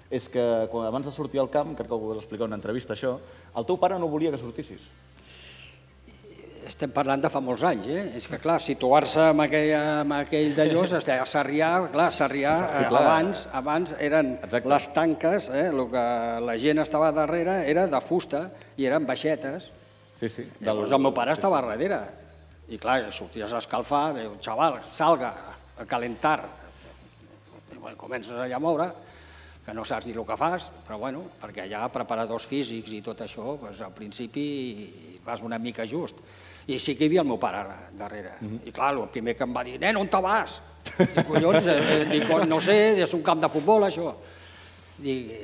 Speaker 2: és que quan, abans de sortir al camp, crec que ho vas explicar en una entrevista això, el teu pare no volia que sortissis.
Speaker 10: Estem parlant de fa molts anys, eh? És que, clar, situar-se en, aquella, en aquell d'allò, es deia Sarrià, clar, Sarrià,
Speaker 2: Sí,
Speaker 10: eh,
Speaker 2: clar.
Speaker 10: abans, abans eren les tanques, eh? El que la gent estava darrere era de fusta i eren baixetes.
Speaker 2: Sí, sí.
Speaker 10: Llavors doncs, el meu pare estava darrere. I clar, sorties a escalfar, diu, xaval, salga, a calentar. I, bueno, comences allà a moure, que no saps ni el que fas, però bueno, perquè allà preparadors físics i tot això, doncs, al principi vas una mica just. I sí que hi havia el meu pare darrere. I clar, el primer que em va dir, nen, on te vas? I collons, eh, eh, dic, "Oh, no sé, és un camp de futbol, això. Dic,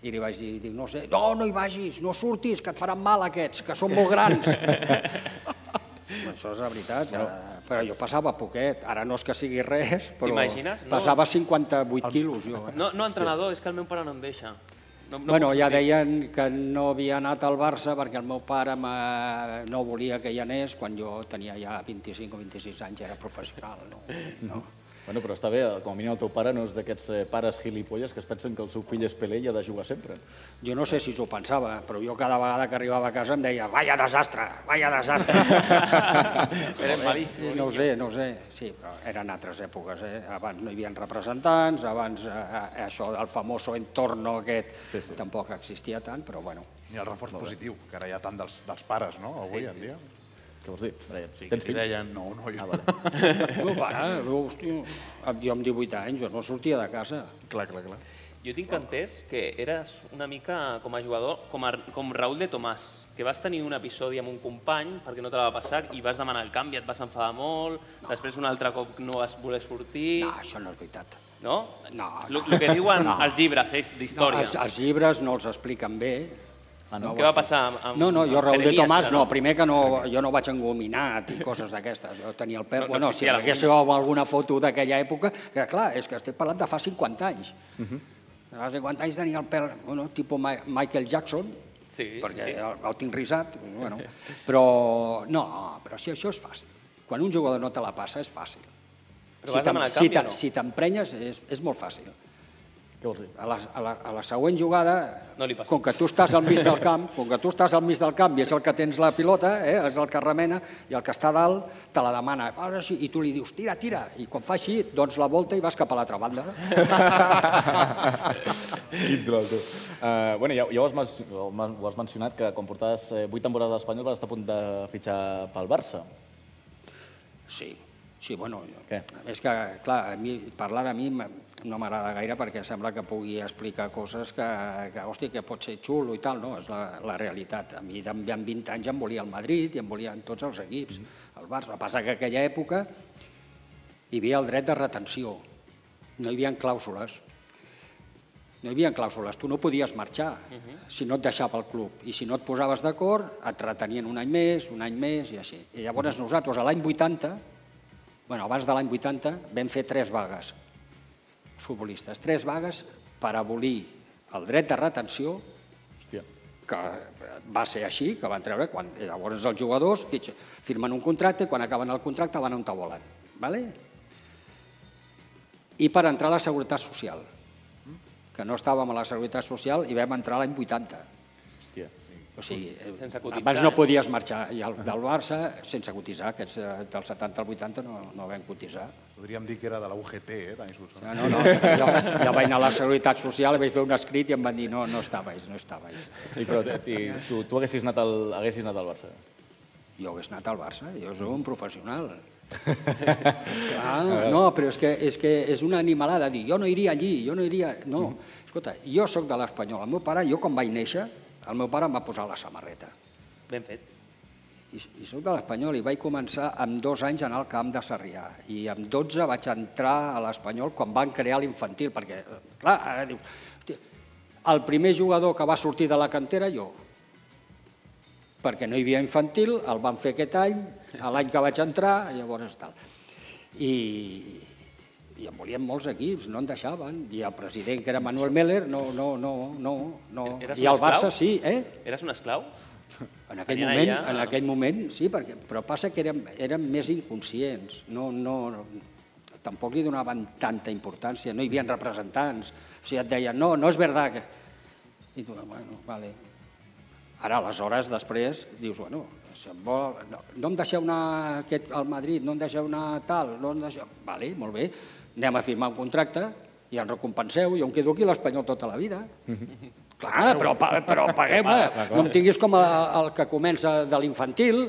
Speaker 10: i li vaig dir, dic, no sé, no, no hi vagis, no surtis, que et faran mal aquests, que són molt grans. Això és la veritat, ja. però jo passava poquet, ara no Eh, és que sigui res, però
Speaker 4: T'imagines? No.
Speaker 10: passava 58 quilos jo. Eh?
Speaker 4: No, no entrenador, és que el meu pare no em deixa. No, no
Speaker 10: bueno,
Speaker 4: puc
Speaker 10: ja
Speaker 4: sortir.
Speaker 10: deien que no havia anat al Barça perquè el meu pare me- no volia que hi anés quan jo tenia ja 25 o 26 anys, era professional. No? No.
Speaker 2: Bueno, però està bé, com a mínim el teu pare no és d'aquests eh, pares gilipolles que es pensen que el seu fill és Pelé i ha de jugar sempre.
Speaker 10: Jo no sé si s'ho pensava, però jo cada vegada que arribava a casa em deia vaya desastre, vaya desastre.
Speaker 4: Eren malíssimos.
Speaker 10: No ho sé, no ho sé. Sí, però eren altres èpoques. Eh? Abans no hi havia representants, abans eh, eh, això del famoso entorno aquest sí, sí. tampoc existia tant, però bueno.
Speaker 3: Ni el reforç positiu, que ara hi ha tant dels, dels pares, no?, avui
Speaker 10: Sí,
Speaker 3: en
Speaker 10: sí.
Speaker 3: dia.
Speaker 2: Què vols dir? Brian?
Speaker 3: Sí,
Speaker 2: Tens
Speaker 3: que
Speaker 2: fills?
Speaker 3: li deien, no, no, jo.
Speaker 2: Ah,
Speaker 3: vale.
Speaker 10: El meu pare, el meu, hòstia, amb- jo amb 18 anys, jo no sortia de casa.
Speaker 3: Clar, clar, clar.
Speaker 4: Jo tinc entès que eres una mica, com a jugador, com, a, com Raül de Tomàs, que vas tenir un episodi amb un company perquè no te la va passar i vas demanar el canvi, et vas enfadar molt, després un altre cop no vas voler sortir...
Speaker 10: No, això no és veritat.
Speaker 4: No?
Speaker 10: No,
Speaker 4: El que diuen
Speaker 10: No.
Speaker 4: els llibres eh, d'història.
Speaker 10: No, els, els llibres no els expliquen bé. Ah,
Speaker 4: Què va passar amb- amb-
Speaker 10: No, no, jo
Speaker 4: amb
Speaker 10: Raül de
Speaker 4: Jeremías,
Speaker 10: Tomàs
Speaker 4: era,
Speaker 10: no,
Speaker 4: no?
Speaker 10: primer que no, jo no vaig engominat i coses d'aquestes, jo tenia el
Speaker 4: No,
Speaker 10: peu,
Speaker 4: no
Speaker 10: bueno, si
Speaker 4: existia
Speaker 10: hi
Speaker 4: la
Speaker 10: haguéssiu alguna foto d'aquella època, que clar, és que estic parlant de fa 50 anys. Fa 50 anys tenia el pèl, bueno, tipus Ma- Michael Jackson,
Speaker 4: Sí,
Speaker 10: perquè
Speaker 4: sí, sí.
Speaker 10: El, el tinc risat, bueno, però no, però si això és fàcil. Quan un jugador no te la passa, és fàcil.
Speaker 4: Però vas
Speaker 10: t'em-
Speaker 4: demanar el
Speaker 10: si
Speaker 4: canvi o
Speaker 10: t'em-
Speaker 4: no?
Speaker 10: Si t'emprenyes, és, és molt fàcil.
Speaker 2: Què vols dir?
Speaker 10: A la, a la, a la següent jugada,
Speaker 4: No li passa.
Speaker 10: com que tu estàs al mig del camp, com que tu estàs al mig del camp i és el que tens la pilota, eh, és el que remena, i el que està a dalt te la demana, fas així, i tu li dius, tira, tira, i quan fa així, et dones la volta i vas cap a l'altra banda.
Speaker 2: Quin troll, tu. Uh, bueno, ja, ja ho, has, men- ho men- ho has mencionat, que quan portaves eh, 8 temporades a l'Espanyol vas estar a punt de fitxar pel Barça.
Speaker 10: Sí, sí, bueno, jo-
Speaker 2: Què?
Speaker 10: és que, clar, a mi, parlar de mi m- no m'agrada gaire perquè sembla que pugui explicar coses que, que hòstia, que pot ser xulo i tal, no, és la, la realitat. A mi amb amb 20 anys em volia el Madrid i em volien tots els equips, el Barça. El que passa que aquella època hi havia el dret de retenció, no hi havia clàusules. No hi havia clàusules, tu no podies marxar
Speaker 4: Mhm.
Speaker 10: si no et deixava el club. I si no et posaves d'acord, et retenien un any més, un any més i així. I llavors nosaltres, a l'any 80, bueno, abans de l'any 80, vam fer tres vagues, els futbolistes, tres vagues per abolir el dret de retenció,
Speaker 2: Hòstia.
Speaker 10: que va ser així, que van treure, quan, i llavors els jugadors fitx- firmen un contracte i quan acaben el contracte van on te volen. ¿vale? i per entrar a la Seguretat Social, que no estàvem a la Seguretat Social i vam entrar l'any 80.
Speaker 2: Hòstia.
Speaker 10: O sigui, eh,
Speaker 4: Sense cotitzar,
Speaker 10: abans no
Speaker 4: eh?
Speaker 10: podies marxar i el, del Barça sense cotitzar, aquests eh, del 70 al 80 no, no vam cotitzar.
Speaker 3: Podríem dir que era de la UGT, eh, Dani Solsona.
Speaker 10: No, no, jo, jo vaig anar a la Seguretat Social, vaig fer un escrit i em van dir no, no estàveis, no estàveis.
Speaker 2: I, però t- t- tu, tu haguessis, anat al, haguessis anat al Barça.
Speaker 10: Jo hagués anat al Barça, jo sóc un professional. Clar, no, però és que, és que és una animalada dir, jo no iria allí, jo no iria... No, escolta, jo sóc de l'Espanyol. El meu pare, jo quan vaig néixer, el meu pare em va posar la samarreta.
Speaker 4: Ben fet.
Speaker 10: I, i sóc de l'Espanyol i vaig començar amb dos anys a anar al camp de Sarrià. I amb 12 vaig entrar a l'Espanyol quan van crear l'infantil, perquè, eh, clar, ara dius... "Hosti, El primer jugador que va sortir de la cantera, jo. Perquè no hi havia infantil, el van fer aquest any, a l'any que vaig entrar, llavors tal. I, i en volien molts equips, no en deixaven. I el president, que era Manuel Meller, no, no, no, no. no.
Speaker 4: Eres
Speaker 10: I
Speaker 4: un
Speaker 10: el Barça
Speaker 4: esclau?
Speaker 10: sí, eh?
Speaker 4: Eres un esclau?
Speaker 10: En aquell,
Speaker 4: Tenien
Speaker 10: moment,
Speaker 4: allà-
Speaker 10: en aquell moment, sí, perquè, però passa que érem, érem més inconscients, no, no, tampoc li donaven tanta importància, no hi havia representants, o sigui, et deien, no, no és verdad que... I tu, bueno, vale. Ara, aleshores, després, dius, bueno, si em vol, no, no em deixeu anar aquest, al Madrid, no em deixeu anar tal, no em deixeu... Vale, molt bé, anem a firmar un contracte i ens recompenseu, jo em quedo aquí a l'Espanyol tota la vida. Clar, però, pa- però paguem, eh? No em tinguis com el, el que comença de l'infantil.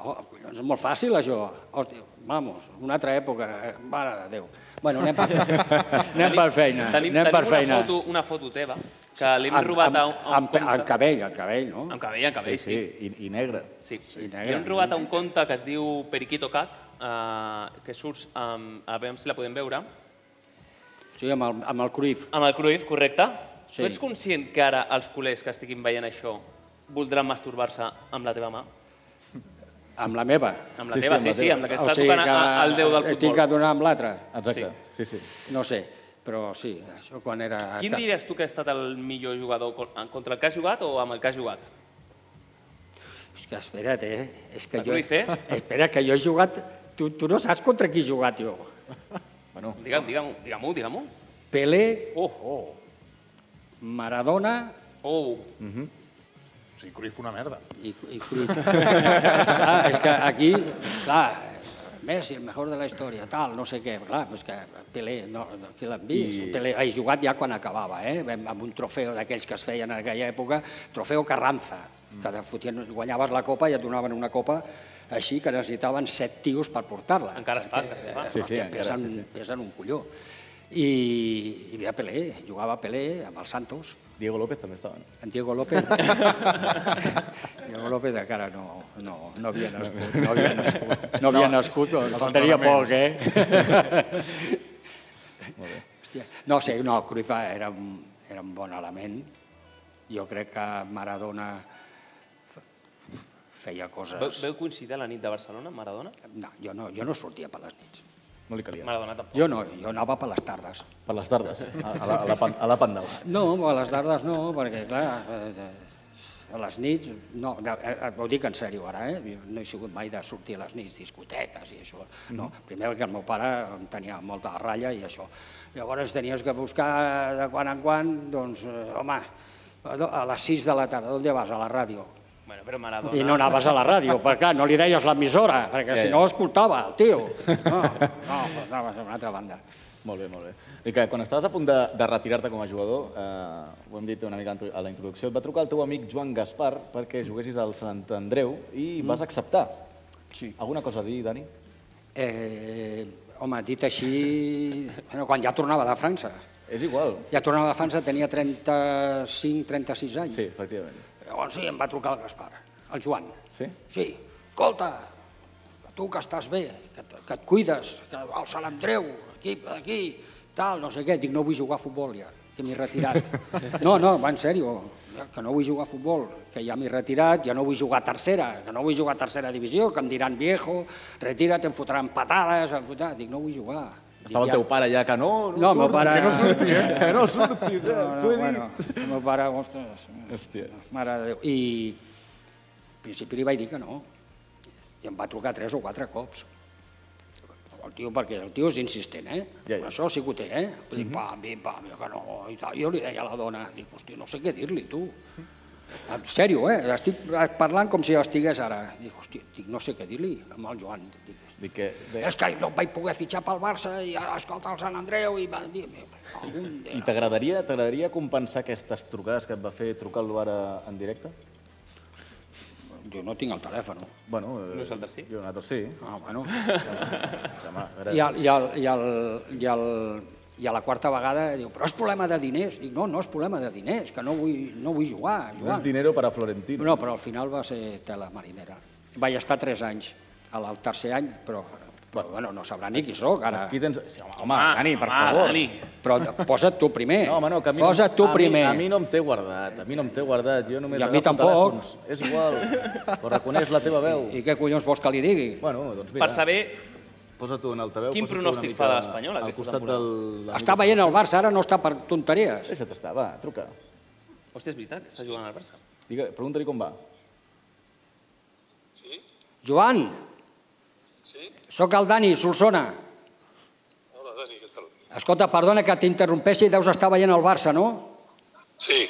Speaker 10: Oh, collons, és molt fàcil, això. Hòstia, vamos, una altra època, eh? mare de Déu. Bueno, anem per feina. anem per feina.
Speaker 4: Tenim,
Speaker 10: anem
Speaker 4: tenim
Speaker 10: per feina.
Speaker 4: Una, foto, una foto teva que l'hem robat a un, a un
Speaker 10: amb,
Speaker 4: compte...
Speaker 10: amb cabell, amb cabell, no?
Speaker 4: Amb cabell, amb cabell,
Speaker 2: sí. I, i negre.
Speaker 4: Sí. sí.
Speaker 10: negre.
Speaker 4: I hem robat a un conte que es diu Periquito Cat, eh, que surts amb... A veure si la podem veure.
Speaker 10: Sí, amb el, amb el cruif.
Speaker 4: Amb el Cruyff, correcte?
Speaker 10: Sí.
Speaker 4: Tu ets conscient que ara els culers que estiguin veient això voldran masturbar-se amb la teva mà?
Speaker 10: Amb la meva.
Speaker 4: Amb la teva, sí, sí, amb la que està tocant
Speaker 10: que
Speaker 4: a- al déu del futbol.
Speaker 10: Tinc que donar amb l'altra?
Speaker 2: Exacte, sí, sí. sí.
Speaker 10: No sé, però sí, això quan era...
Speaker 2: Ah,
Speaker 4: Quin diries tu que ha estat el millor jugador? co- Contra el que has jugat o amb el que has jugat?
Speaker 10: És que espera't, eh? És que
Speaker 4: La
Speaker 10: jo...
Speaker 4: Cruyff, eh?
Speaker 10: Espera, que jo he jugat... Tu, tu no saps contra qui he jugat jo.
Speaker 2: Bueno,
Speaker 4: Digue'm, digue'm, digue'm-ho, digue'm-ho.
Speaker 10: Pelé,
Speaker 4: Oh, oh.
Speaker 10: Maradona
Speaker 4: Oh,
Speaker 3: Sí, Cruyff una merda.
Speaker 10: i, i Cruyff. clar, és que aquí, clar, Messi, el mejor de la història, tal, no sé què. Clar, és que Pelé, no, no qui l'han vist? I... Pelé, he jugat ja quan acabava, eh? Vam- Amb un trofeu d'aquells que es feien en aquella època, trofeu Carranza, que de fotien, guanyaves la copa i et donaven una copa així que necessitaven set tios per portar-la.
Speaker 4: encara es fa, encara es fa.
Speaker 10: Sí, sí,
Speaker 2: encara,
Speaker 10: pesen,
Speaker 2: sí,
Speaker 10: sí, sí. pesen un colló. I, i havia Pelé, jugava Pelé amb els Santos,
Speaker 2: Diego López també estava. no?
Speaker 10: en Diego López. Diego López de cara no, no, no havia nascut. No havia nascut, no havia nascut no, faltaria poc, eh? Hòstia, no sé, no, Cruyff era un, era un bon element. Jo crec que Maradona fe- feia
Speaker 4: Veu,
Speaker 10: coses...
Speaker 4: veu coincidir a la nit de Barcelona, amb Maradona?
Speaker 10: No, jo no, jo no sortia per les nits.
Speaker 2: No li calia.
Speaker 4: Maradona tampoc.
Speaker 10: Jo no, jo anava per les tardes.
Speaker 2: Per les tardes, a, a la, a la, pan- a la pandau.
Speaker 10: No, a les tardes no, perquè clar, eh, eh, a les nits, no, de- eh, eh, ho dic en sèrio ara, eh? jo no he sigut mai de sortir a les nits, discoteques i això, no, primer perquè el meu pare em tenia molta ratlla i això, llavors tenies que buscar de quan en quan, doncs, eh, home, a les 6 de la tarda, on vas? A la ràdio.
Speaker 4: Bueno, però Maradona...
Speaker 10: I no anaves a la ràdio, perquè clar, no li deies l'emissora, perquè
Speaker 2: Ja,
Speaker 10: si
Speaker 2: ja.
Speaker 10: no escoltava el tio. No, no, anaves a una altra banda.
Speaker 2: Molt bé, molt bé. I que quan estaves a punt de, de retirar-te com a jugador, eh, ho hem dit una mica en tu- a la introducció, et va trucar el teu amic Joan Gaspar perquè juguessis al Sant Andreu i vas acceptar.
Speaker 10: Sí.
Speaker 2: Alguna cosa a dir, Dani?
Speaker 10: Eh, home, dit així, bueno, quan ja tornava de França.
Speaker 2: És igual.
Speaker 10: Ja tornava de França, tenia 35-36 anys.
Speaker 2: Sí, efectivament.
Speaker 10: Llavors sí, em va trucar el Gaspar, el Joan.
Speaker 2: Sí?
Speaker 10: Sí, escolta, tu que estàs bé, que, et- que et cuides, que el Sant Andreu, aquí, aquí, tal, no sé què. Dic, no vull jugar a futbol ja, que m'he retirat. No, no, va, en sèrio, que no vull jugar a futbol, que ja m'he retirat, ja no vull jugar a tercera, que no vull jugar a tercera divisió, que em diran viejo, retira't, em fotran patades, em fotran... Dic, no vull jugar. Dic,
Speaker 2: Estava el
Speaker 10: ja-
Speaker 2: teu pare ja que no...
Speaker 10: No, el meu pare...
Speaker 2: Que no surti, eh? Que no surti, eh?
Speaker 10: No, no,
Speaker 2: T'ho he
Speaker 10: bueno,
Speaker 2: dit.
Speaker 10: el meu pare, ostres,
Speaker 2: Hòstia.
Speaker 10: mare de Déu. I al principi li vaig dir que no. I em va trucar tres o quatre cops. El tio, perquè el tio és insistent, eh? Ja, ja. Això sí que ho té, eh? Dic, pam, pim, pam, jo que no, i tal. Jo li deia a la dona, dic, hòstia, no sé què dir-li, tu. En sèrio, eh? Estic parlant com si estigués ara. Dic, hòstia, dic, no sé què dir-li amb el Joan. Dic,
Speaker 2: Dic que... bé,
Speaker 10: és que no vaig poder fitxar pel Barça i ara escolta el Sant Andreu i va dir... Algun
Speaker 2: I t'agradaria t'agradaria compensar aquestes trucades que et va fer trucar-lo ara en directe?
Speaker 10: Jo no tinc el telèfon.
Speaker 2: Bueno, eh,
Speaker 4: Nosaltres sí.
Speaker 2: Jo nosaltres sí.
Speaker 10: Ah, bueno.
Speaker 2: Demà,
Speaker 10: I, al, i, al, i, al, i, al, I a la quarta vegada diu, però és problema de diners. Dic, no, no és problema de diners, que no vull, no vull jugar,
Speaker 2: No és
Speaker 10: Joan.
Speaker 2: dinero para Florentino.
Speaker 10: No, però al final va ser tela marinera. Vaig estar tres anys, al al tercer any, però, però bueno, no sabrà ni qui sóc, ara.
Speaker 2: Aquí tens... Sí,
Speaker 10: Ah.
Speaker 2: home, home,
Speaker 4: Ah,
Speaker 2: Dani, per favor.
Speaker 10: Però posa't tu primer.
Speaker 2: No, home, no, que a mi,
Speaker 10: Posa't tu
Speaker 2: a
Speaker 10: primer.
Speaker 2: Mi, a mi no em té guardat, a mi no em té guardat. Jo només
Speaker 10: I a mi
Speaker 2: agafo
Speaker 10: tampoc.
Speaker 2: telèfons. És igual, però reconeix la teva veu.
Speaker 10: I què collons vols que li digui?
Speaker 2: Bueno, doncs mira,
Speaker 4: Per saber
Speaker 2: posa tu en altaveu.
Speaker 4: quin
Speaker 2: posa tu una
Speaker 4: pronòstic
Speaker 2: mica
Speaker 4: fa de l'Espanyol
Speaker 2: Al
Speaker 4: aquesta
Speaker 2: costat
Speaker 4: temporada?
Speaker 2: del...
Speaker 10: Està veient el Barça, ara no està per tonteries.
Speaker 2: Deixa't estar, va, truca.
Speaker 4: Hòstia, és veritat que està jugant al Barça.
Speaker 2: Digue, pregunta-li com va.
Speaker 10: Joan! Sí? Soc el Dani, Solsona.
Speaker 11: Hola, Dani, què tal?
Speaker 10: Escolta, perdona que t'interrompessi, deus estar veient el Barça, no?
Speaker 11: Sí,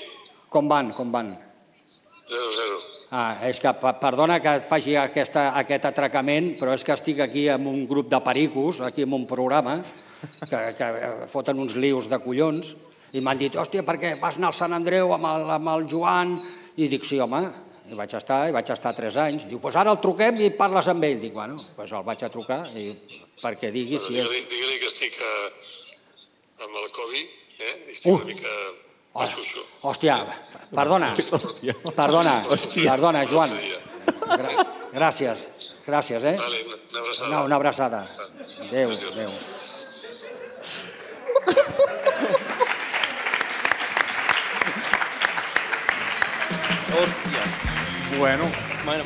Speaker 10: Com van, com van?
Speaker 11: 0-0.
Speaker 10: Ah, és que pe- perdona que et faci aquesta, aquest atracament, però és que estic aquí amb un grup de pericos, aquí amb un programa, que, que eh, foten uns lius de collons, i m'han dit, hòstia, per què vas anar al Sant Andreu amb el, amb el Joan? I dic, sí, home, i vaig estar, i vaig estar tres anys. Diu, doncs pues ara el truquem i parles amb ell. Dic, bueno, doncs pues el vaig a trucar i perquè digui si és...
Speaker 11: Digue-li digue que estic a, amb el Covid, eh? I estic
Speaker 10: Uh.
Speaker 11: una mica...
Speaker 10: Hola.
Speaker 11: Escucho.
Speaker 10: Hòstia, perdona, perdona, perdona, Joan. Gra- Gràcies, gràcies, eh?
Speaker 11: Vale, una abraçada.
Speaker 10: No, una abraçada. Adéu, adéu.
Speaker 4: Hòstia.
Speaker 3: Bueno.
Speaker 4: Bueno,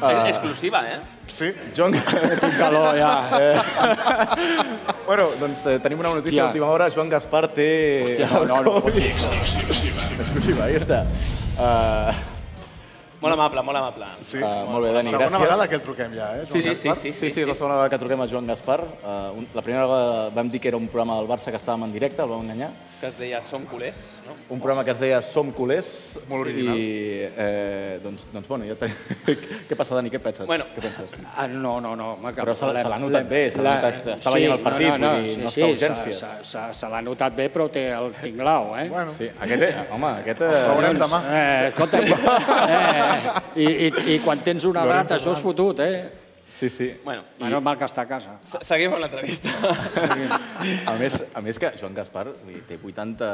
Speaker 2: Ah.
Speaker 4: uh... exclusiva, eh?
Speaker 3: Sí.
Speaker 2: Joan, tinc calor ja. Eh. bueno, doncs eh, tenim una notícia
Speaker 10: Hòstia.
Speaker 2: d'última hora. Joan Gaspar té...
Speaker 10: Hòstia, no, no, no fotis.
Speaker 11: Exclusiva.
Speaker 2: Exclusiva, ahí està. Uh,
Speaker 4: Molt amable, molt amable.
Speaker 3: Sí.
Speaker 2: Ah, molt bé, Dani,
Speaker 3: segona
Speaker 2: gràcies.
Speaker 3: vegada que el truquem ja, eh?
Speaker 2: Sí, sí, sí,
Speaker 3: Gaspar?
Speaker 2: sí, sí, sí, és la segona vegada que truquem a Joan Gaspar. Uh, un, la primera vegada vam dir que era un programa del Barça que estàvem en directe, el vam enganyar.
Speaker 4: Que es deia Som culers, no?
Speaker 2: Un programa que es deia Som culers.
Speaker 3: Molt original.
Speaker 2: I, eh, doncs, doncs bueno, ja tenim... què passa, Dani? Què penses?
Speaker 4: Bueno.
Speaker 2: Què penses?
Speaker 10: Ah, no, no, no. Home, que
Speaker 2: Però se l'ha-
Speaker 10: la-
Speaker 2: se l'ha notat bé, se l'ha
Speaker 10: la-
Speaker 2: notat- està veient el partit,
Speaker 10: no, no, no,
Speaker 2: vull dir,
Speaker 10: sí,
Speaker 2: no
Speaker 10: sí,
Speaker 2: està a
Speaker 10: se-
Speaker 2: urgències.
Speaker 10: Se, se, se l'ha notat bé, però té el tinglau, eh?
Speaker 3: Bueno,
Speaker 2: Sí, aquest, eh, home, aquest... Eh,
Speaker 3: veurem demà.
Speaker 10: Eh, escolta, eh, i, i, i quan tens una edat, això és fotut, eh?
Speaker 2: Sí, sí.
Speaker 4: Bueno,
Speaker 10: Menys mal que està a casa.
Speaker 4: se- seguim amb l'entrevista.
Speaker 2: A més, a més que Joan Gaspar vull dir, té 80...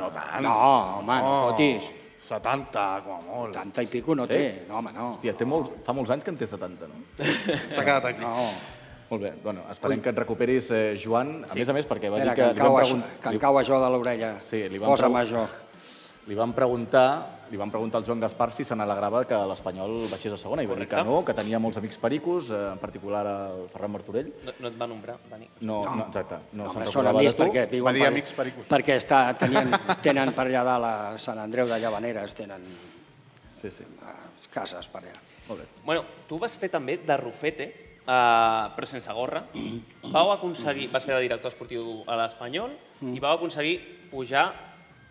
Speaker 3: No tant.
Speaker 10: No, home, no fotis.
Speaker 3: 70, com a molt.
Speaker 10: Tanta i pico no té, no, home, no.
Speaker 2: Hòstia, té molt, fa molts anys que en té 70, no?
Speaker 3: S'ha quedat aquí. No.
Speaker 2: Molt bé, bueno, esperem que et recuperis, eh, Joan. A més a més, perquè va
Speaker 10: Espera,
Speaker 2: dir que...
Speaker 10: que, em
Speaker 2: li van
Speaker 10: cau, això,
Speaker 2: pregun-
Speaker 10: que
Speaker 2: li-
Speaker 10: em cau això de l'orella.
Speaker 2: Sí, li van
Speaker 10: Posa'm
Speaker 2: pregun-
Speaker 10: això.
Speaker 2: Li van preguntar, li van preguntar al Joan Gaspar si se n'alegrava que l'Espanyol baixés a segona i va dir que
Speaker 4: Correcte.
Speaker 2: no, que tenia molts amics pericos, eh, en particular el Ferran Martorell.
Speaker 4: No, no et va nombrar, Dani.
Speaker 2: No, no, exacte, no,
Speaker 10: No,
Speaker 2: se'n
Speaker 10: home, són
Speaker 2: recordava de
Speaker 10: amics
Speaker 2: tu.
Speaker 10: perquè viuen
Speaker 3: Va dir
Speaker 10: per-
Speaker 3: amics pericos.
Speaker 10: Perquè està, tenien, tenen per allà dalt a Sant Andreu de Llavaneres, tenen
Speaker 2: Sí, sí,
Speaker 10: eh, cases per allà.
Speaker 2: molt bé.
Speaker 4: Bueno, tu vas fer també de Rufete, eh, però sense gorra. Vau aconseguir, vas fer de director esportiu a l'Espanyol
Speaker 10: Mm.
Speaker 4: i vau aconseguir pujar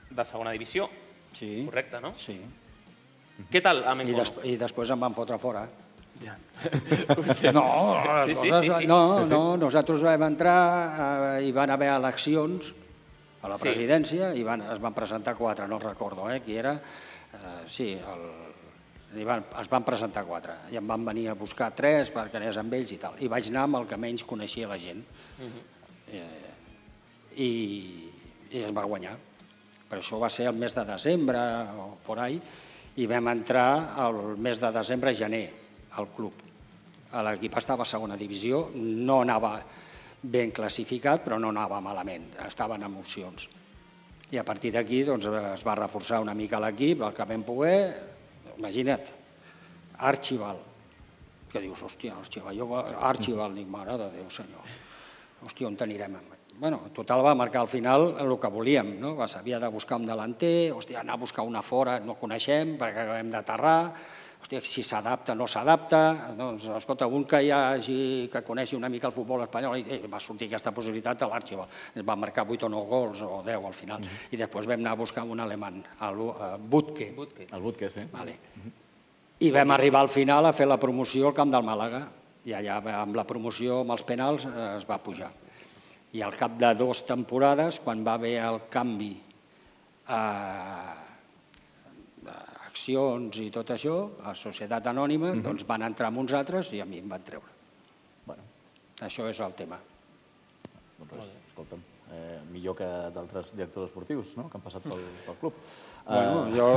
Speaker 4: de segona divisió.
Speaker 10: Sí.
Speaker 4: Correcte, no?
Speaker 10: Sí.
Speaker 4: Què tal amb
Speaker 10: I,
Speaker 4: Encono?
Speaker 10: des, I després em van fotre fora.
Speaker 4: Ja.
Speaker 10: No,
Speaker 4: sí,
Speaker 10: les
Speaker 4: sí,
Speaker 10: coses,
Speaker 4: sí, sí.
Speaker 10: no, no, nosaltres vam entrar, eh, hi van haver eleccions a la
Speaker 4: Sí.
Speaker 10: presidència, i van, es van presentar quatre, no recordo eh, qui era, eh, sí, el, hi van, es van presentar quatre, i em van venir a buscar tres perquè anés amb ells i tal, i vaig anar amb el que menys coneixia la gent, eh, i, i es va guanyar. Però això va ser el mes de desembre o por ahí, i vam entrar el mes de desembre-gener al club. L'equip estava a segona divisió, no anava ben classificat, però no anava malament, estava en emocions. I a partir d'aquí doncs, es va reforçar una mica l'equip, el que vam poder, imagina't, Archival, que dius, hòstia, Archival, jo, Archival, dic, mare de Déu, senyor, hòstia, on t'anirem? amb- Bueno, total va marcar al final el que volíem, no? Va, S'havia de buscar un delanter, hòstia, anar a buscar una fora, no coneixem, perquè acabem d'aterrar,
Speaker 12: hòstia, si s'adapta, no s'adapta, doncs, escolta, un que, hi hagi, que coneixi una mica el futbol espanyol, i, eh, va sortir aquesta possibilitat a l'Arxiva, va marcar 8 o 9 gols o 10 al final, i després vam anar a buscar un alemany, el eh, Butke.
Speaker 2: El Butke, sí. eh?
Speaker 12: Vale. I vam arribar al final a fer la promoció al camp del Màlaga, i allà va- amb la promoció, amb els penals, eh, es va pujar. I al cap de dues temporades, quan va haver el canvi a accions i tot això, a Societat Anònima, doncs van entrar amb uns altres i a mi em van treure.
Speaker 2: Bueno.
Speaker 12: Això és el tema.
Speaker 2: Doncs res, escolta'm, eh, millor que d'altres directors esportius no? que han passat pel, pel club.
Speaker 12: Bueno,
Speaker 2: Eh,
Speaker 12: jo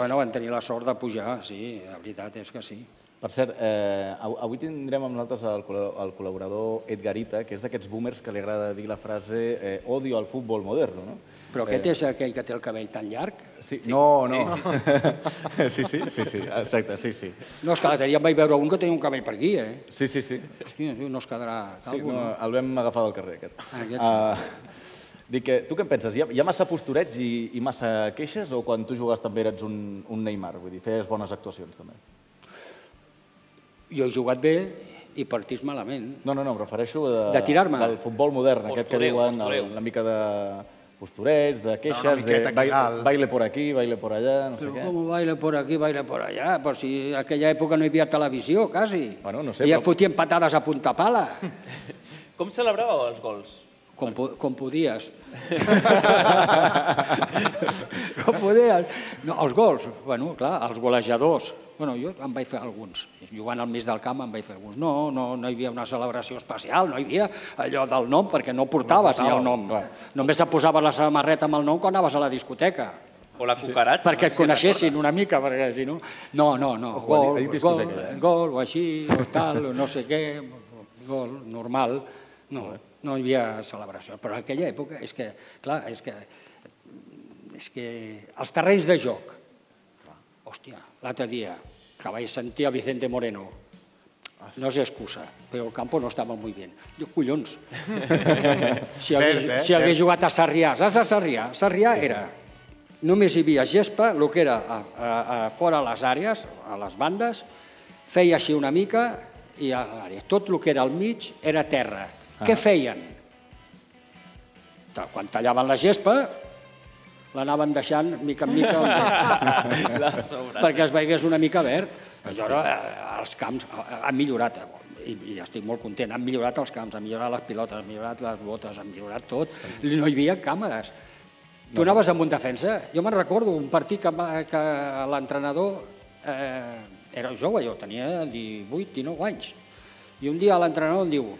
Speaker 12: bueno, vam tenir la sort de pujar, sí, la veritat és que sí.
Speaker 2: Per cert, eh, av- avui tindrem amb nosaltres el, col·la- el col·laborador Edgarita, que és d'aquests boomers que li agrada dir la frase eh, odio al futbol moderno. No? Eh,
Speaker 12: Però aquest és aquell que té el cabell tan llarg?
Speaker 2: Sí, no, no. Sí sí sí. sí, sí, exacte, sí, sí.
Speaker 12: No, és que l'altre dia em vaig veure un que tenia un cabell per aquí, eh?
Speaker 2: Sí, sí, sí.
Speaker 12: Hòstia, no es quedarà
Speaker 2: Sí,
Speaker 12: calvo,
Speaker 2: no,
Speaker 12: no?
Speaker 2: el vam agafar del carrer, aquest.
Speaker 12: Ah, aquest sí.
Speaker 2: Ah, dic, que, tu què en penses? Hi ha, hi ha massa postureig i, i massa queixes o quan tu jugaves també eres un, un Neymar? Vull dir, feies bones actuacions també.
Speaker 12: Jo he jugat bé i partís malament.
Speaker 2: No, no, no, em refereixo de,
Speaker 12: De tirar-me?
Speaker 2: del futbol modern, aquest que
Speaker 12: Postureo,
Speaker 2: diuen
Speaker 12: postureo.
Speaker 2: el, una mica de postureig, de queixes,
Speaker 12: una miqueta
Speaker 2: de
Speaker 12: aquí
Speaker 2: baile,
Speaker 12: dalt.
Speaker 2: baile por aquí, baile por allà, no sé
Speaker 12: Però
Speaker 2: què.
Speaker 12: com baila por aquí, baila por allà? Però si en aquella època no hi havia televisió, quasi.
Speaker 2: Bueno, no sé,
Speaker 12: I
Speaker 2: però-
Speaker 12: et fotien patades a punta pala,
Speaker 4: Com celebràveu els gols?
Speaker 12: com, po- com podies. com podies. No, els gols, bueno, clar, els golejadors. Bueno, jo em vaig fer alguns. Jugant al mig del camp em vaig fer alguns. No, no, no hi havia una celebració especial, no hi havia allò del nom, perquè no portaves ja el nom. Només et posaves la samarreta amb el nom quan anaves a la discoteca.
Speaker 4: O la cucaratxa?
Speaker 12: perquè et coneixessin una mica, perquè si no... No, no, no,
Speaker 4: Ojo,
Speaker 12: gol,
Speaker 4: ahí- ahí
Speaker 12: gol,
Speaker 4: discoteca, eh?
Speaker 12: gol, o així, o tal, o no sé què, gol, normal. No, no hi havia celebració. Però en aquella època és que, clar, és que, és que els terrenys de joc, hòstia, l'altre dia que vaig sentir a Vicente Moreno, no és excusa, però el campo no estava molt bé. Jo, collons, si hagués,
Speaker 8: Verd, eh?
Speaker 12: si hagués
Speaker 8: Verd.
Speaker 12: jugat a Sarrià, saps a Sarrià? Sarrià era només hi havia gespa, el que era a, a, a fora a les àrees, a les bandes, feia així una mica i a l'àrea. Tot el que era al mig era terra.
Speaker 8: Ah.
Speaker 12: Què feien? Ta- Quan tallaven la gespa, l'anaven deixant mica en mica al mig.
Speaker 8: La sobra.
Speaker 12: perquè es veigués una mica verd. Allora, eh, els camps eh, han millorat, eh, i, i estic molt content, han millorat els camps, han millorat les pilotes, han millorat les botes, han millorat tot. No hi havia càmeres. Tu anaves amb un defensa. Jo me'n recordo un partit que, em va- que l'entrenador eh, era jove, jo tenia 18, 19 anys. I un dia l'entrenador em diu,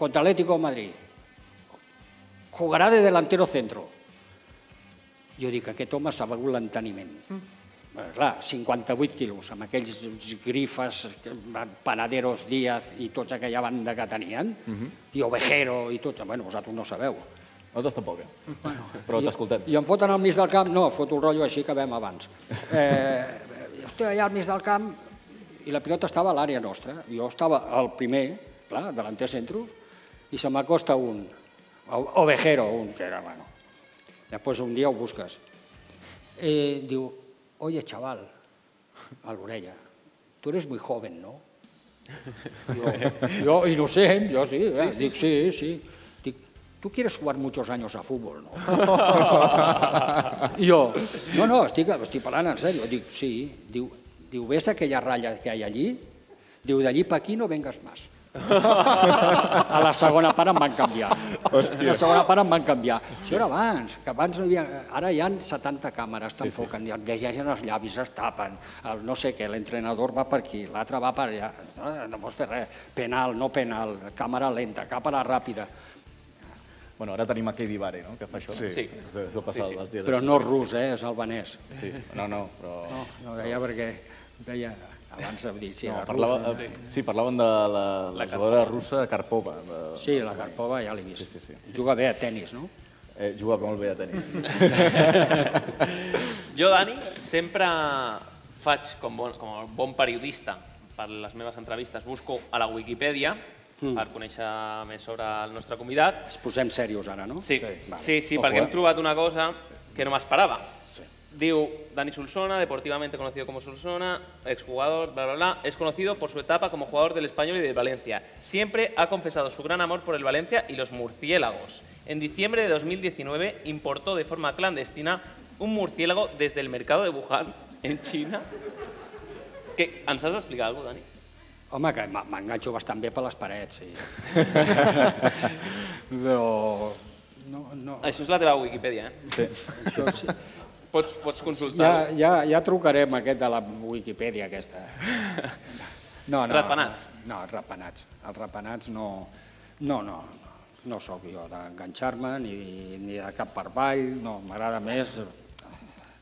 Speaker 12: contra Atlético de Madrid, jugarà de delantero centro. Jo dic, aquest home s'ha begut l'enteniment. Eh, Clar, 58 quilos, amb aquells grifes, panaderos Díaz i tots aquella banda que tenien, i Ovejero i tot, bueno, vosaltres no sabeu.
Speaker 2: Nosaltres tampoc, eh?
Speaker 12: Bueno,
Speaker 2: Però t'escoltem.
Speaker 12: I em foten al mig del camp, no, foto el rotllo així que vam abans. Eh, estic allà al mig del camp i la pilota estava a l'àrea nostra. Jo estava el primer, clar, delanter centro, i se m'acosta un, o- Ovejero, un que era, bueno. Després un dia ho busques. Eh, diu, oye, chaval, a l'orella, tu eres muy joven, ¿no? Jo, jo innocent, jo sí, sí, sí dic, sí, sí. Dic, tu quieres jugar muchos años a fútbol, ¿no? I jo, no, no, estic, estic parlant en sèrio. Dic, sí. Diu, diu ves aquella ratlla que hi ha allí? Diu, d'allí pa aquí no vengas más. A la segona part em van canviar.
Speaker 8: Hòstia.
Speaker 12: A la segona part em van canviar. Això era abans, que abans no hi havia... Ara hi ha 70 càmeres, t'enfoquen, sí, sí. llegeixen els llavis, es tapen, el no sé què, l'entrenador va per aquí, l'altre va per allà, no, no pots fer res, penal, no penal, càmera lenta, càmera ràpida.
Speaker 2: Bueno, ara tenim a Katie Vare, no?, que fa això.
Speaker 12: Sí. Sí.
Speaker 2: És, de- és el passat,
Speaker 12: Sí, sí.
Speaker 2: dels dies.
Speaker 12: Però no és rus, eh? És albanès.
Speaker 2: Sí. No, no, però...
Speaker 12: No, no deia perquè deia abans de dir si
Speaker 2: No,
Speaker 12: era
Speaker 2: parlava,
Speaker 12: russa.
Speaker 2: eh, sí, parlaven de la, la, jugadora russa Karpova. De...
Speaker 12: Sí, la Karpova ja l'he vist.
Speaker 2: Sí, sí, sí.
Speaker 12: Juga bé a tennis, no?
Speaker 2: Eh, juga molt bé a tennis.
Speaker 4: Jo, Dani, sempre faig, com bon, com a bon periodista, per les meves entrevistes, busco a la Wikipedia
Speaker 12: Mm.
Speaker 4: per conèixer més sobre el nostre convidat.
Speaker 12: Ens posem serios ara, no?
Speaker 4: Sí, sí, sí,
Speaker 12: vale.
Speaker 4: perquè hem trobat una cosa que no m'esperava. Diu, Dani Solsona, deportivamente conocido como Solsona, exjugador, bla, bla, bla, es conocido por su etapa como jugador del Español y del Valencia. Siempre ha confesado su gran amor por el Valencia y los murciélagos. En diciembre de 2019 importó de forma clandestina un murciélago desde el mercado de Wuhan, en China. Que, ens has d'explicar alguna cosa, Dani?
Speaker 10: Home, que m- m'enganxo bastant bé per les parets, sí.
Speaker 3: No...
Speaker 10: No, no.
Speaker 4: Això és la teva Wikipedia, eh?
Speaker 2: Sí.
Speaker 10: Això sí.
Speaker 4: Pots, pots consultar
Speaker 10: Ja, ja, ja trucarem aquest de la Wikipedia aquesta. No, no,
Speaker 4: Ratpenats.
Speaker 10: No, els ratpenats. Els ratpenats no... No, no, no sóc jo d'enganxar-me ni, ni de cap per avall, no, m'agrada més...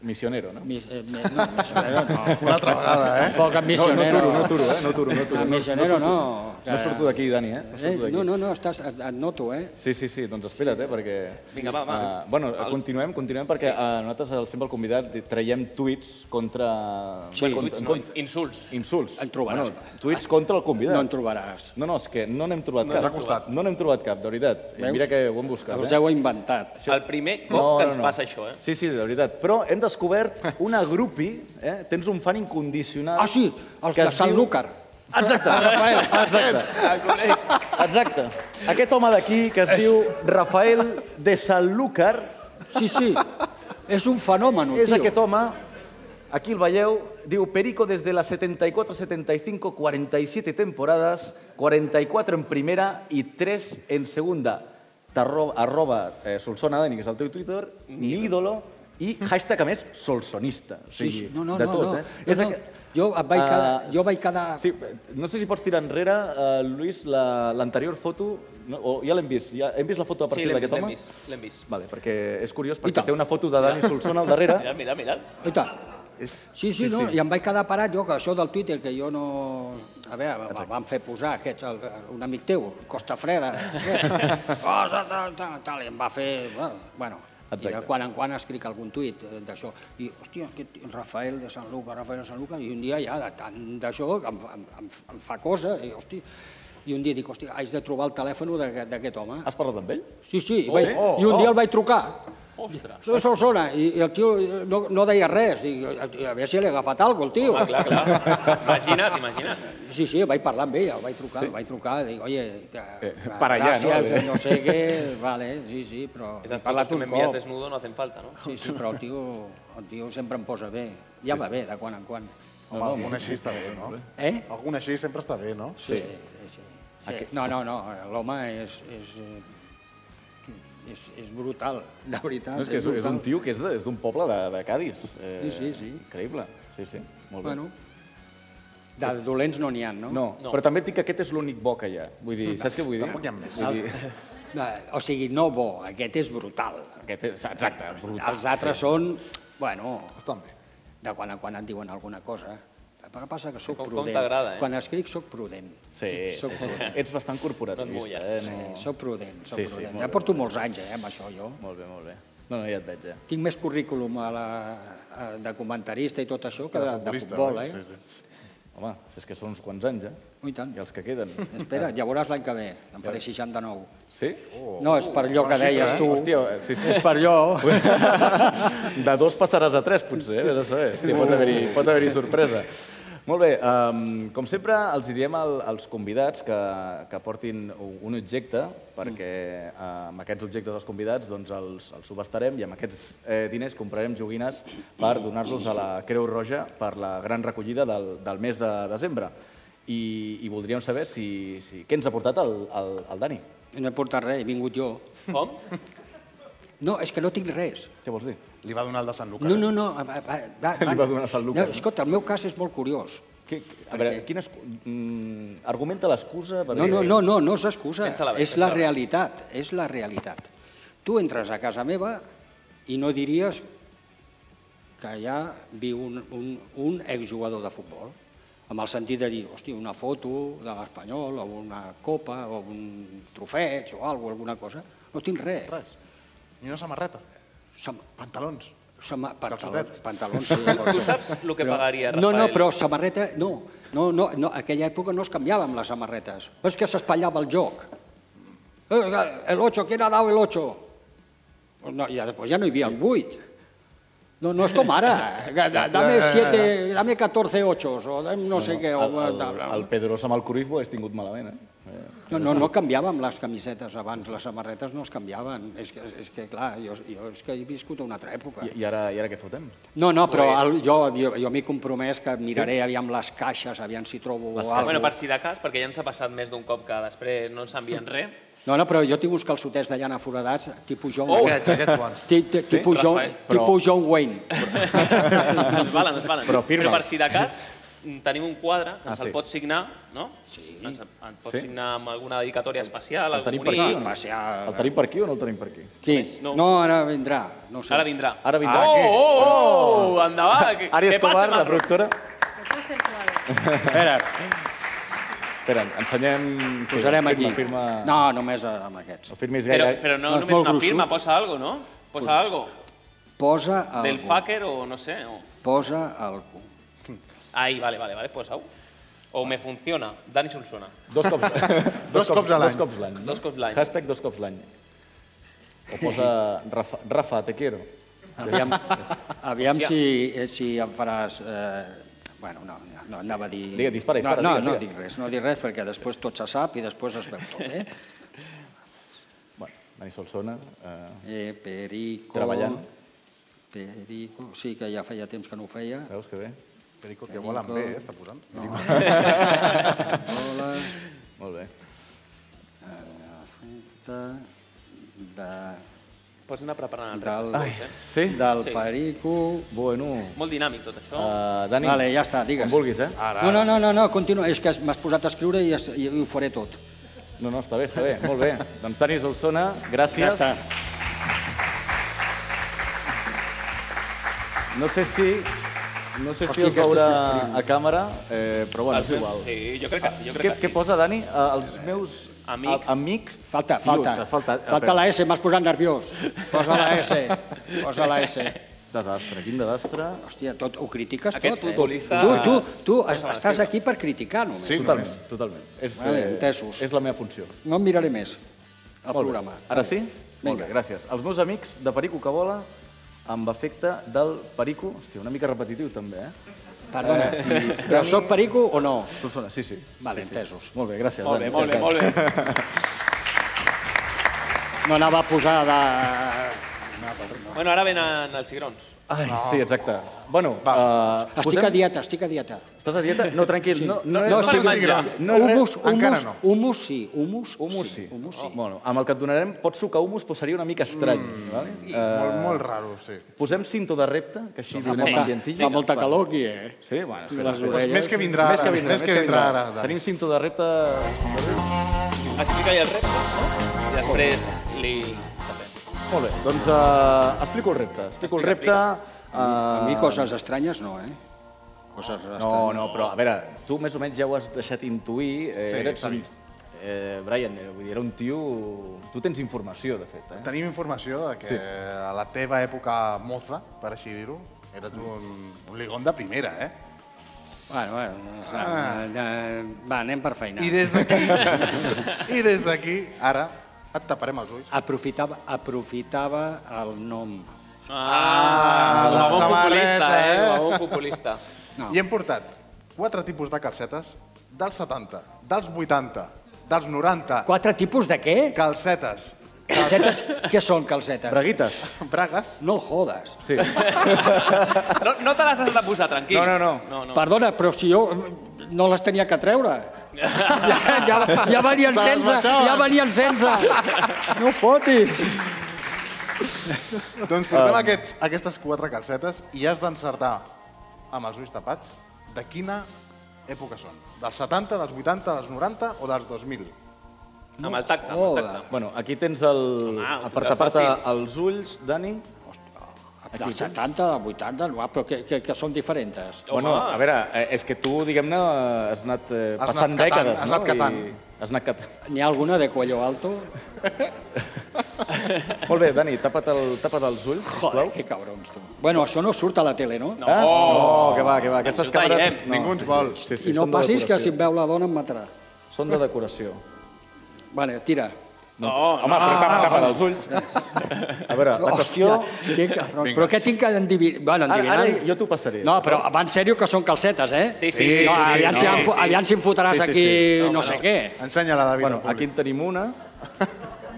Speaker 2: Misionero, no?
Speaker 10: Mis, eh, mi- no, missionero no.
Speaker 2: Una altra vegada, eh?
Speaker 10: Tampoc
Speaker 2: No, no
Speaker 10: missionero.
Speaker 2: aturo, no aturo, eh? No aturo, no aturo.
Speaker 10: A
Speaker 2: No- no
Speaker 10: missionero
Speaker 2: surto-
Speaker 10: no.
Speaker 2: no surto d'aquí, Dani, eh? No surto
Speaker 10: eh
Speaker 2: d'aquí.
Speaker 10: no, no, no, estàs, et, et noto, eh?
Speaker 2: Sí, sí, sí, doncs espera't, eh, perquè...
Speaker 10: Vinga, va, va.
Speaker 2: Ah, bueno,
Speaker 10: Al-
Speaker 2: continuem, continuem, perquè eh, nosaltres el- sempre el convidat traiem tuits contra...
Speaker 10: Sí.
Speaker 2: contra-
Speaker 10: Tuits
Speaker 2: en
Speaker 10: no,
Speaker 2: contra-
Speaker 4: insults.
Speaker 2: Insults. En
Speaker 10: trobaràs.
Speaker 2: tuits contra el convidat.
Speaker 10: No en trobaràs.
Speaker 2: No, no, és que no n'hem trobat
Speaker 10: No
Speaker 2: cap.
Speaker 10: ens ha costat.
Speaker 2: No n'hem trobat cap, de veritat.
Speaker 10: Veus?
Speaker 2: Mira que ho hem buscat.
Speaker 10: Us
Speaker 2: eh?
Speaker 10: heu inventat.
Speaker 4: El primer cop que ens passa això, eh?
Speaker 2: Sí, sí, de veritat. Però hem descobert una grupi, eh? tens un fan incondicional... Ah, sí,
Speaker 10: els de Sanlúcar.
Speaker 2: Exacte.
Speaker 10: El Rafael.
Speaker 2: Exacte. Exacte. Aquest home d'aquí, que es diu Rafael de Sanlúcar...
Speaker 10: Sí, sí. És un fenomen,
Speaker 2: És
Speaker 10: tio.
Speaker 2: aquest home, aquí el veieu, diu Perico des de les 74, 75, 47 temporades, 44 en primera i 3 en segunda. Arroba, arroba eh, Solsona, Dani, que és el teu Twitter, mi ídolo, i hashtag, a més, solsonista. O
Speaker 10: Sí,
Speaker 2: sigui,
Speaker 10: sí. No, no,
Speaker 2: de
Speaker 10: no,
Speaker 2: tot,
Speaker 10: no.
Speaker 2: eh?
Speaker 10: No, no.
Speaker 2: aquest-
Speaker 10: Jo et vaig
Speaker 2: Ah,
Speaker 10: quedar- jo vaig quedar-
Speaker 2: Sí, no sé si pots tirar enrere, eh, Lluís, la- l'anterior foto... No, o ja l'hem vist, ja hem vist la foto a
Speaker 4: Sí,
Speaker 2: partir
Speaker 4: l'hem vist,
Speaker 2: d'aquest
Speaker 4: l'hem
Speaker 2: home?
Speaker 4: vist, l'hem vist.
Speaker 2: Vale, perquè és curiós, perquè té una foto de Dani Solsona al darrere.
Speaker 4: Mira'l, mira'l, mira'l.
Speaker 10: Oita.
Speaker 2: És...
Speaker 10: Sí, sí, no, i em vaig quedar parat jo, que això del Twitter, que jo no... A veure, me'l van fer posar aquest, el, un amic teu, Costa Freda. Cosa, tal, tal, tal, i em va fer... Bueno, Exacte. i de quan en quan escric algun tuit eh, d'això. I, hòstia, aquest Rafael de Sant Luca, Rafael de Sant Luca, i un dia ja, de tant d'això, em, em, em, em fa cosa, i, hòstia, i un dia dic, hòstia, haig de trobar el telèfon d'aquest d'aquest home.
Speaker 2: Has parlat amb ell?
Speaker 10: Sí, sí, i
Speaker 2: Oh,
Speaker 10: vaig,
Speaker 2: sí?
Speaker 10: i un dia
Speaker 2: Oh.
Speaker 10: el vaig trucar. Ostres. Soy de Solsona, i, i el tio
Speaker 12: eh,
Speaker 10: no, no deia res, i, a, a veure si li ha agafat alguna cosa, el tio.
Speaker 4: Home, clar, clar. Imagina't, imagina't.
Speaker 10: Sí, sí, vaig parlar amb ell, el vaig trucar, sí. vaig trucar, dic, oye, te,
Speaker 2: para allá, Eh, ¿no?
Speaker 10: gràcies, no? no sé què, vale, sí, sí, però...
Speaker 4: Esas
Speaker 10: he
Speaker 4: fotos
Speaker 10: parlat
Speaker 4: que
Speaker 10: un
Speaker 4: m'envies
Speaker 10: cop.
Speaker 4: desnudo no hacen falta, no?
Speaker 10: Sí, sí, però el tio, el tio sempre em posa bé, ja va bé, de quan en quan.
Speaker 3: Home, no, algun així està bé, no?
Speaker 10: Eh?
Speaker 3: Algun així sempre està bé, no?
Speaker 10: Sí, sí, sí. sí. No, no, no, l'home és, és, eh, és, és brutal, de veritat.
Speaker 2: No, és que és, és
Speaker 10: brutal.
Speaker 2: un tio que és de- és d'un poble de, de Cádiz. Eh,
Speaker 10: Sí, sí, sí.
Speaker 2: Increïble. Sí, sí. Molt bé.
Speaker 10: Bueno, de dolents no n'hi ha, no?
Speaker 2: no, no, però també et dic que aquest és l'únic bo que hi ha. Vull dir, saps què vull dir?
Speaker 10: Tampoc hi ha més.
Speaker 2: Vull dir,
Speaker 10: No, Eh, O sigui, no bo, aquest és brutal.
Speaker 2: Aquest és, exacte, brutal.
Speaker 10: Els altres
Speaker 2: Sí.
Speaker 10: són, bueno... Estan bé. De quan en quan et diuen alguna cosa. Però passa que sóc
Speaker 4: Com- com
Speaker 10: prudent.
Speaker 4: t'agrada, eh?
Speaker 10: Quan escric sóc prudent.
Speaker 2: Sí,
Speaker 10: Sóc
Speaker 2: sí, sí.
Speaker 10: prudent.
Speaker 2: Ets bastant corporativista,
Speaker 10: No et mulles.
Speaker 2: eh,
Speaker 10: Sí,
Speaker 2: no-
Speaker 10: sóc prudent, sóc
Speaker 2: Sí, sí,
Speaker 10: prudent.
Speaker 2: molt
Speaker 10: ja
Speaker 2: bé,
Speaker 10: porto molts anys, eh, amb això, jo.
Speaker 2: Molt bé, molt bé. No, no, ja et veig, ja.
Speaker 10: Tinc més currículum a la, a, de comentarista i tot això que de, de futbol, eh?
Speaker 2: Sí, sí. Home, és que són uns quants anys, eh?
Speaker 10: Oh, I tant.
Speaker 2: I els que queden.
Speaker 10: Espera, ja veuràs l'any que ve, em faré 69.
Speaker 2: Sí?
Speaker 10: No, és per allò que deies tu.
Speaker 2: eh? Hòstia, sí, sí.
Speaker 10: És per allò.
Speaker 2: De dos passaràs a tres, potser, eh? Vés a saber. Hòstia, pot haver-hi pot haver sorpresa. Molt bé, um, com sempre els hi diem al, als convidats que, que portin u- un objecte, perquè
Speaker 10: Mm.
Speaker 2: eh, amb aquests objectes dels convidats doncs els, els subestarem i amb aquests eh, diners comprarem joguines per donar-los a la Creu Roja per la gran recollida del, del mes de desembre. I, i voldríem saber si, si, què ens ha portat el, el, el Dani.
Speaker 10: No he portat res, he vingut jo.
Speaker 4: Com?
Speaker 10: No, és que no tinc res.
Speaker 2: Què vols dir?
Speaker 3: Li va donar el de Sant Lucas.
Speaker 10: No, no, no. Va, va, va,
Speaker 2: Li va donar Sant Lucas,
Speaker 10: No, escolta, el meu cas és molt curiós.
Speaker 2: Què, a veure, quina excu- mm, argumenta l'excusa?
Speaker 10: No, no, no, no, no és excusa.
Speaker 2: Pensa-la bé,
Speaker 10: És la
Speaker 2: pensa-la bé.
Speaker 10: realitat, és la realitat. Tu entres a casa meva i no diries que allà viu un, un, un exjugador de futbol, amb el sentit de dir, hòstia, una foto de l'Espanyol, o una copa, o un trofeig, o alguna, alguna cosa. No tinc res.
Speaker 3: Res. Ni una samarreta.
Speaker 10: Sam...
Speaker 3: Pantalons.
Speaker 10: Sama... Pantalons,
Speaker 3: Calçotets.
Speaker 10: pantalons, sí,
Speaker 4: Tu saps el que pagaria
Speaker 10: No, no,
Speaker 4: Rafael?
Speaker 10: però samarreta, no. No, no, no, aquella època no es canviaven les samarretes. Però és que s'espatllava el joc. Eh, El 8, ¿quién ha dado el 8? No, ja, després ja no hi havia el 8. No, no és com ara. Da-
Speaker 2: Ja,
Speaker 10: Dame,
Speaker 2: ja, ja.
Speaker 10: siete, dame 14 ochos o dame no sé què.
Speaker 2: El,
Speaker 10: o
Speaker 2: el,
Speaker 10: tal.
Speaker 2: el Pedrosa amb el Corifo ho has tingut malament, eh?
Speaker 10: No, no, no canviàvem les camisetes abans, les samarretes no es canviaven. És que, és que clar, jo, jo és que he viscut una altra època.
Speaker 2: I, i, ara, I ara què fotem?
Speaker 10: No, no, però
Speaker 2: Pues-
Speaker 10: el, jo, jo, jo m'he compromès que miraré aviam les caixes, aviam si trobo
Speaker 2: Les
Speaker 10: alguna
Speaker 4: Bueno, per si de cas, perquè ja ens ha passat més d'un cop que després no ens envien res.
Speaker 10: No, no, però jo tinc uns calçotets de llana foradats, tipus John
Speaker 4: Oh, Aquests, aquests bons.
Speaker 10: Ti- ti-
Speaker 4: Sí?
Speaker 10: Tipus, John,
Speaker 4: Rafael, però-
Speaker 10: tipus John Wayne.
Speaker 4: ens valen, ens valen.
Speaker 10: Però firma'ls.
Speaker 4: per si de cas, mm, tenim un quadre que
Speaker 10: Ah,
Speaker 4: ens el
Speaker 10: sí.
Speaker 4: pot signar, no? Sí. Ens el ens pot signar amb alguna dedicatòria especial,
Speaker 2: El
Speaker 4: algun
Speaker 2: tenim per
Speaker 4: bonic.
Speaker 2: aquí? o no? El tenim per aquí o no el tenim per aquí?
Speaker 10: Qui? No. no, ara vindrà. No ho sé.
Speaker 4: Ara vindrà.
Speaker 2: Ara vindrà.
Speaker 4: Oh,
Speaker 2: Aquí.
Speaker 4: oh, oh, oh, endavant. que-
Speaker 2: Àries
Speaker 4: que passa,
Speaker 2: Escobar, la
Speaker 4: Marc?
Speaker 2: productora. Espera. Espera, ensenyem... sí,
Speaker 10: Posarem
Speaker 2: firma,
Speaker 10: aquí.
Speaker 2: Firma...
Speaker 10: No, només eh, amb aquests.
Speaker 2: No firmis
Speaker 4: Però,
Speaker 2: gaire.
Speaker 4: però no,
Speaker 2: és
Speaker 4: només
Speaker 2: molt
Speaker 4: una
Speaker 2: gruixut.
Speaker 4: firma, posa algo, no? Posa
Speaker 10: Posa-
Speaker 4: algo.
Speaker 10: Posa
Speaker 4: Del
Speaker 10: algú.
Speaker 4: fucker o no sé. O...
Speaker 10: Posa algú.
Speaker 4: Ahí, vale, vale, vale, posa-ho. O me funciona, Dani Solsona.
Speaker 2: Dos cops,
Speaker 4: Dos cops a l'any.
Speaker 2: Dos cops l'any. no?
Speaker 4: Dos cops l'any.
Speaker 2: Hashtag dos cops l'any. O posa Rafa, Rafa te quiero.
Speaker 10: Aviam, aviam si, eh, si em faràs... Eh, bueno, no, no, anava a dir...
Speaker 2: Digue, dispara, dispara,
Speaker 10: No,
Speaker 2: digues,
Speaker 10: no, no
Speaker 2: digues.
Speaker 10: dic res, no dic res, perquè després tot se sap i després es veu tot, eh?
Speaker 2: Bueno, Dani Solsona. Eh,
Speaker 10: eh perico...
Speaker 2: Treballant.
Speaker 10: Perico, sí, que ja feia temps que no ho feia.
Speaker 2: Veus que bé? Perico,
Speaker 3: que vola amb B, eh, està posant.
Speaker 10: No. Vola...
Speaker 2: Molt bé.
Speaker 10: Eh, fruita de...
Speaker 4: Pots anar preparant el
Speaker 10: Del,
Speaker 4: repte, eh?
Speaker 10: del
Speaker 4: Sí.
Speaker 10: perico...
Speaker 2: Bueno.
Speaker 4: Molt dinàmic tot això.
Speaker 2: Uh, Dani,
Speaker 10: Vale, ja està, digues.
Speaker 2: Com vulguis, eh? Ara,
Speaker 10: No, no, no, no, no continua. És que m'has posat a escriure i, es, i ho faré tot.
Speaker 2: No, no, està bé, està bé, molt bé. doncs Dani Solsona, gràcies.
Speaker 10: Ja està.
Speaker 2: No sé si... No sé
Speaker 10: Hosti,
Speaker 2: si el
Speaker 10: aquest és
Speaker 2: veurà
Speaker 10: més prim.
Speaker 2: a càmera, eh, però bueno,
Speaker 4: Els
Speaker 2: és
Speaker 4: meus-
Speaker 2: igual.
Speaker 4: Ah, sí, jo crec que sí, jo crec
Speaker 2: què,
Speaker 4: que
Speaker 2: Què
Speaker 4: sí.
Speaker 2: posa, Dani? Eh, els meus
Speaker 4: Amics.
Speaker 2: a- amics... eh,
Speaker 10: Falta, falta.
Speaker 2: Lluny,
Speaker 10: falta,
Speaker 2: espera.
Speaker 10: la S, m'has posat nerviós. Posa la S, posa la S.
Speaker 2: Desastre, quin desastre.
Speaker 10: Hòstia, tot, ho critiques
Speaker 2: Aquests
Speaker 10: tot, eh?
Speaker 2: futbolistes-
Speaker 10: Tu, tu, tu
Speaker 2: Posa
Speaker 10: es-
Speaker 2: la
Speaker 10: estàs
Speaker 2: seva.
Speaker 10: aquí per criticar només.
Speaker 2: Sí, totalment, totalment. És,
Speaker 10: Vale,
Speaker 2: eh,
Speaker 10: entesos.
Speaker 2: És la meva funció.
Speaker 10: No em miraré més
Speaker 2: Molt
Speaker 10: el
Speaker 2: bé.
Speaker 10: programa.
Speaker 2: Ara sí? Molt bé, gràcies. Els meus amics de Perico que vola amb efecte del Perico... Hòstia, una mica repetitiu també, eh?
Speaker 10: Perdona,
Speaker 2: Eh,
Speaker 10: però
Speaker 2: Dani-
Speaker 10: soc perico o no?
Speaker 2: Solsona, sí, sí.
Speaker 10: Vale,
Speaker 2: sí, sí.
Speaker 10: entesos.
Speaker 2: Molt bé, gràcies.
Speaker 10: Molt bé,
Speaker 2: Dani,
Speaker 10: molt bé, molt No anava a posar de... No, perdó.
Speaker 4: Bueno, ara venen els cigrons.
Speaker 2: Ai, sí, exacte. Bueno, eh,
Speaker 10: Estic a dieta, estic a dieta.
Speaker 2: Estàs a dieta? No, tranquil,
Speaker 10: Sí.
Speaker 2: no, no,
Speaker 10: No,
Speaker 2: és-
Speaker 10: sí,
Speaker 2: no, és-
Speaker 10: menjar.
Speaker 2: no, és res-
Speaker 10: Humus, humus,
Speaker 2: encara no.
Speaker 10: Humus sí, humus,
Speaker 2: Humus sí.
Speaker 10: Humus
Speaker 2: Oh, bueno, amb el que et donarem, pots sucar humus, però seria una mica estrany. Mm, vale?
Speaker 3: sí, molt- molt raro, sí.
Speaker 2: Posem cinto de repte, que així
Speaker 10: Però
Speaker 2: donem
Speaker 10: fa molta-
Speaker 2: ambientillo.
Speaker 10: fa molta
Speaker 2: Bueno.
Speaker 10: calor aquí, eh?
Speaker 2: Sí, bueno,
Speaker 10: Les
Speaker 2: espera, espera.
Speaker 10: orelles. Més que vindrà
Speaker 2: Més que
Speaker 10: ara,
Speaker 2: vindrà,
Speaker 10: més que vindrà ara, Dani.
Speaker 2: Tenim cinto de repte...
Speaker 4: Explica ja el repte, no? I després li...
Speaker 2: Molt bé, doncs eh, explico el repte. Explico el repte...
Speaker 10: A mi
Speaker 2: eh,
Speaker 10: coses estranyes no, eh? Coses
Speaker 2: No,
Speaker 10: estranyes.
Speaker 2: no, però a veure, tu més o menys ja ho has deixat intuir. Eh,
Speaker 3: Sí,
Speaker 2: eres
Speaker 3: s'ha
Speaker 2: un-
Speaker 3: vist.
Speaker 2: Eh, Brian, eh, vull dir, era un tio... Tu tens informació, de fet. Eh?
Speaker 3: Tenim informació de que
Speaker 2: Sí.
Speaker 3: a la teva època moza, per així dir-ho, eres un, un ligon de primera, eh?
Speaker 10: Bueno, bueno, no,
Speaker 3: Ah.
Speaker 10: no, no, va, anem per feina.
Speaker 3: I des d'aquí, i des d'aquí, ara, et taparem els ulls.
Speaker 10: Aprofitava, aprofitava el nom.
Speaker 4: Ah,
Speaker 3: la
Speaker 4: com a bon
Speaker 3: samarreta,
Speaker 4: futbolista, eh? Com a
Speaker 3: eh?
Speaker 4: bon futbolista.
Speaker 10: No.
Speaker 3: I hem portat quatre tipus de calcetes dels 70, dels 80, dels 90.
Speaker 10: Quatre tipus de què?
Speaker 3: Calcetes.
Speaker 10: Calcetes, què són calcetes?
Speaker 2: Braguites.
Speaker 3: Bragues.
Speaker 10: No jodes.
Speaker 2: Sí.
Speaker 4: No, no te les has de posar, tranquil.
Speaker 10: No, no,
Speaker 4: no, no.
Speaker 10: Perdona, però si jo no les tenia que treure. Ja, ja, ja venien
Speaker 4: Se les
Speaker 10: sense,
Speaker 4: baixaven.
Speaker 10: ja venien sense. No fotis.
Speaker 3: Doncs portem aquests, aquestes quatre calcetes i has d'encertar amb els ulls tapats de quina època són. Dels 70, dels 80, dels 90 o dels 2000?
Speaker 4: Amb el tacte, amb el
Speaker 2: Hola.
Speaker 4: tacte.
Speaker 2: Bueno, aquí tens el...
Speaker 4: Home, ho
Speaker 2: Aparta,
Speaker 4: tindràs
Speaker 2: aparta
Speaker 4: fàcil.
Speaker 2: els ulls, Dani.
Speaker 10: Del 70, del 80, no, però que, que, que són diferents.
Speaker 2: Bueno, a veure, eh, és que tu, diguem-ne, has anat eh,
Speaker 10: Has
Speaker 2: passant
Speaker 10: anat catant,
Speaker 2: dècades,
Speaker 10: has
Speaker 2: no?
Speaker 10: anat catant.
Speaker 2: I has anat catant.
Speaker 10: N'hi ha alguna de cuello alto?
Speaker 2: Molt bé, Dani, tapa't, el, tapa't els ulls,
Speaker 10: Joder, que cabrons, tu. Bueno, això no surt a la tele, no?
Speaker 2: Ah? No, que va, que va. Aquestes
Speaker 10: Això ho
Speaker 2: càmeres...
Speaker 10: traiem, ningú ens
Speaker 2: sí,
Speaker 10: vol.
Speaker 2: Sí, sí,
Speaker 10: I no
Speaker 2: són de
Speaker 10: passis, que
Speaker 2: decoració.
Speaker 10: si em veu la dona em matarà.
Speaker 2: Són de decoració.
Speaker 10: Vale, tira.
Speaker 2: No, Home, però tapa, tapa els ulls. Ah, A veure, la qüestió...
Speaker 12: Hòstia, que cabron. però què tinc que endivinar? Bueno,
Speaker 2: Ara-
Speaker 12: endivinar...
Speaker 2: ara jo t'ho passaré.
Speaker 12: No, però va en sèrio que són calcetes, eh?
Speaker 2: Sí, sí, sí,
Speaker 12: no,
Speaker 2: sí,
Speaker 12: aviam,
Speaker 2: sí,
Speaker 12: si,
Speaker 2: sí,
Speaker 12: em fo-
Speaker 2: sí.
Speaker 12: aviam si em fotràs
Speaker 2: Sí, sí,
Speaker 12: aquí
Speaker 2: sí.
Speaker 12: no,
Speaker 2: No,
Speaker 12: sé
Speaker 2: no.
Speaker 12: què.
Speaker 3: Ensenya-la, David.
Speaker 2: Bueno, aquí en tenim una.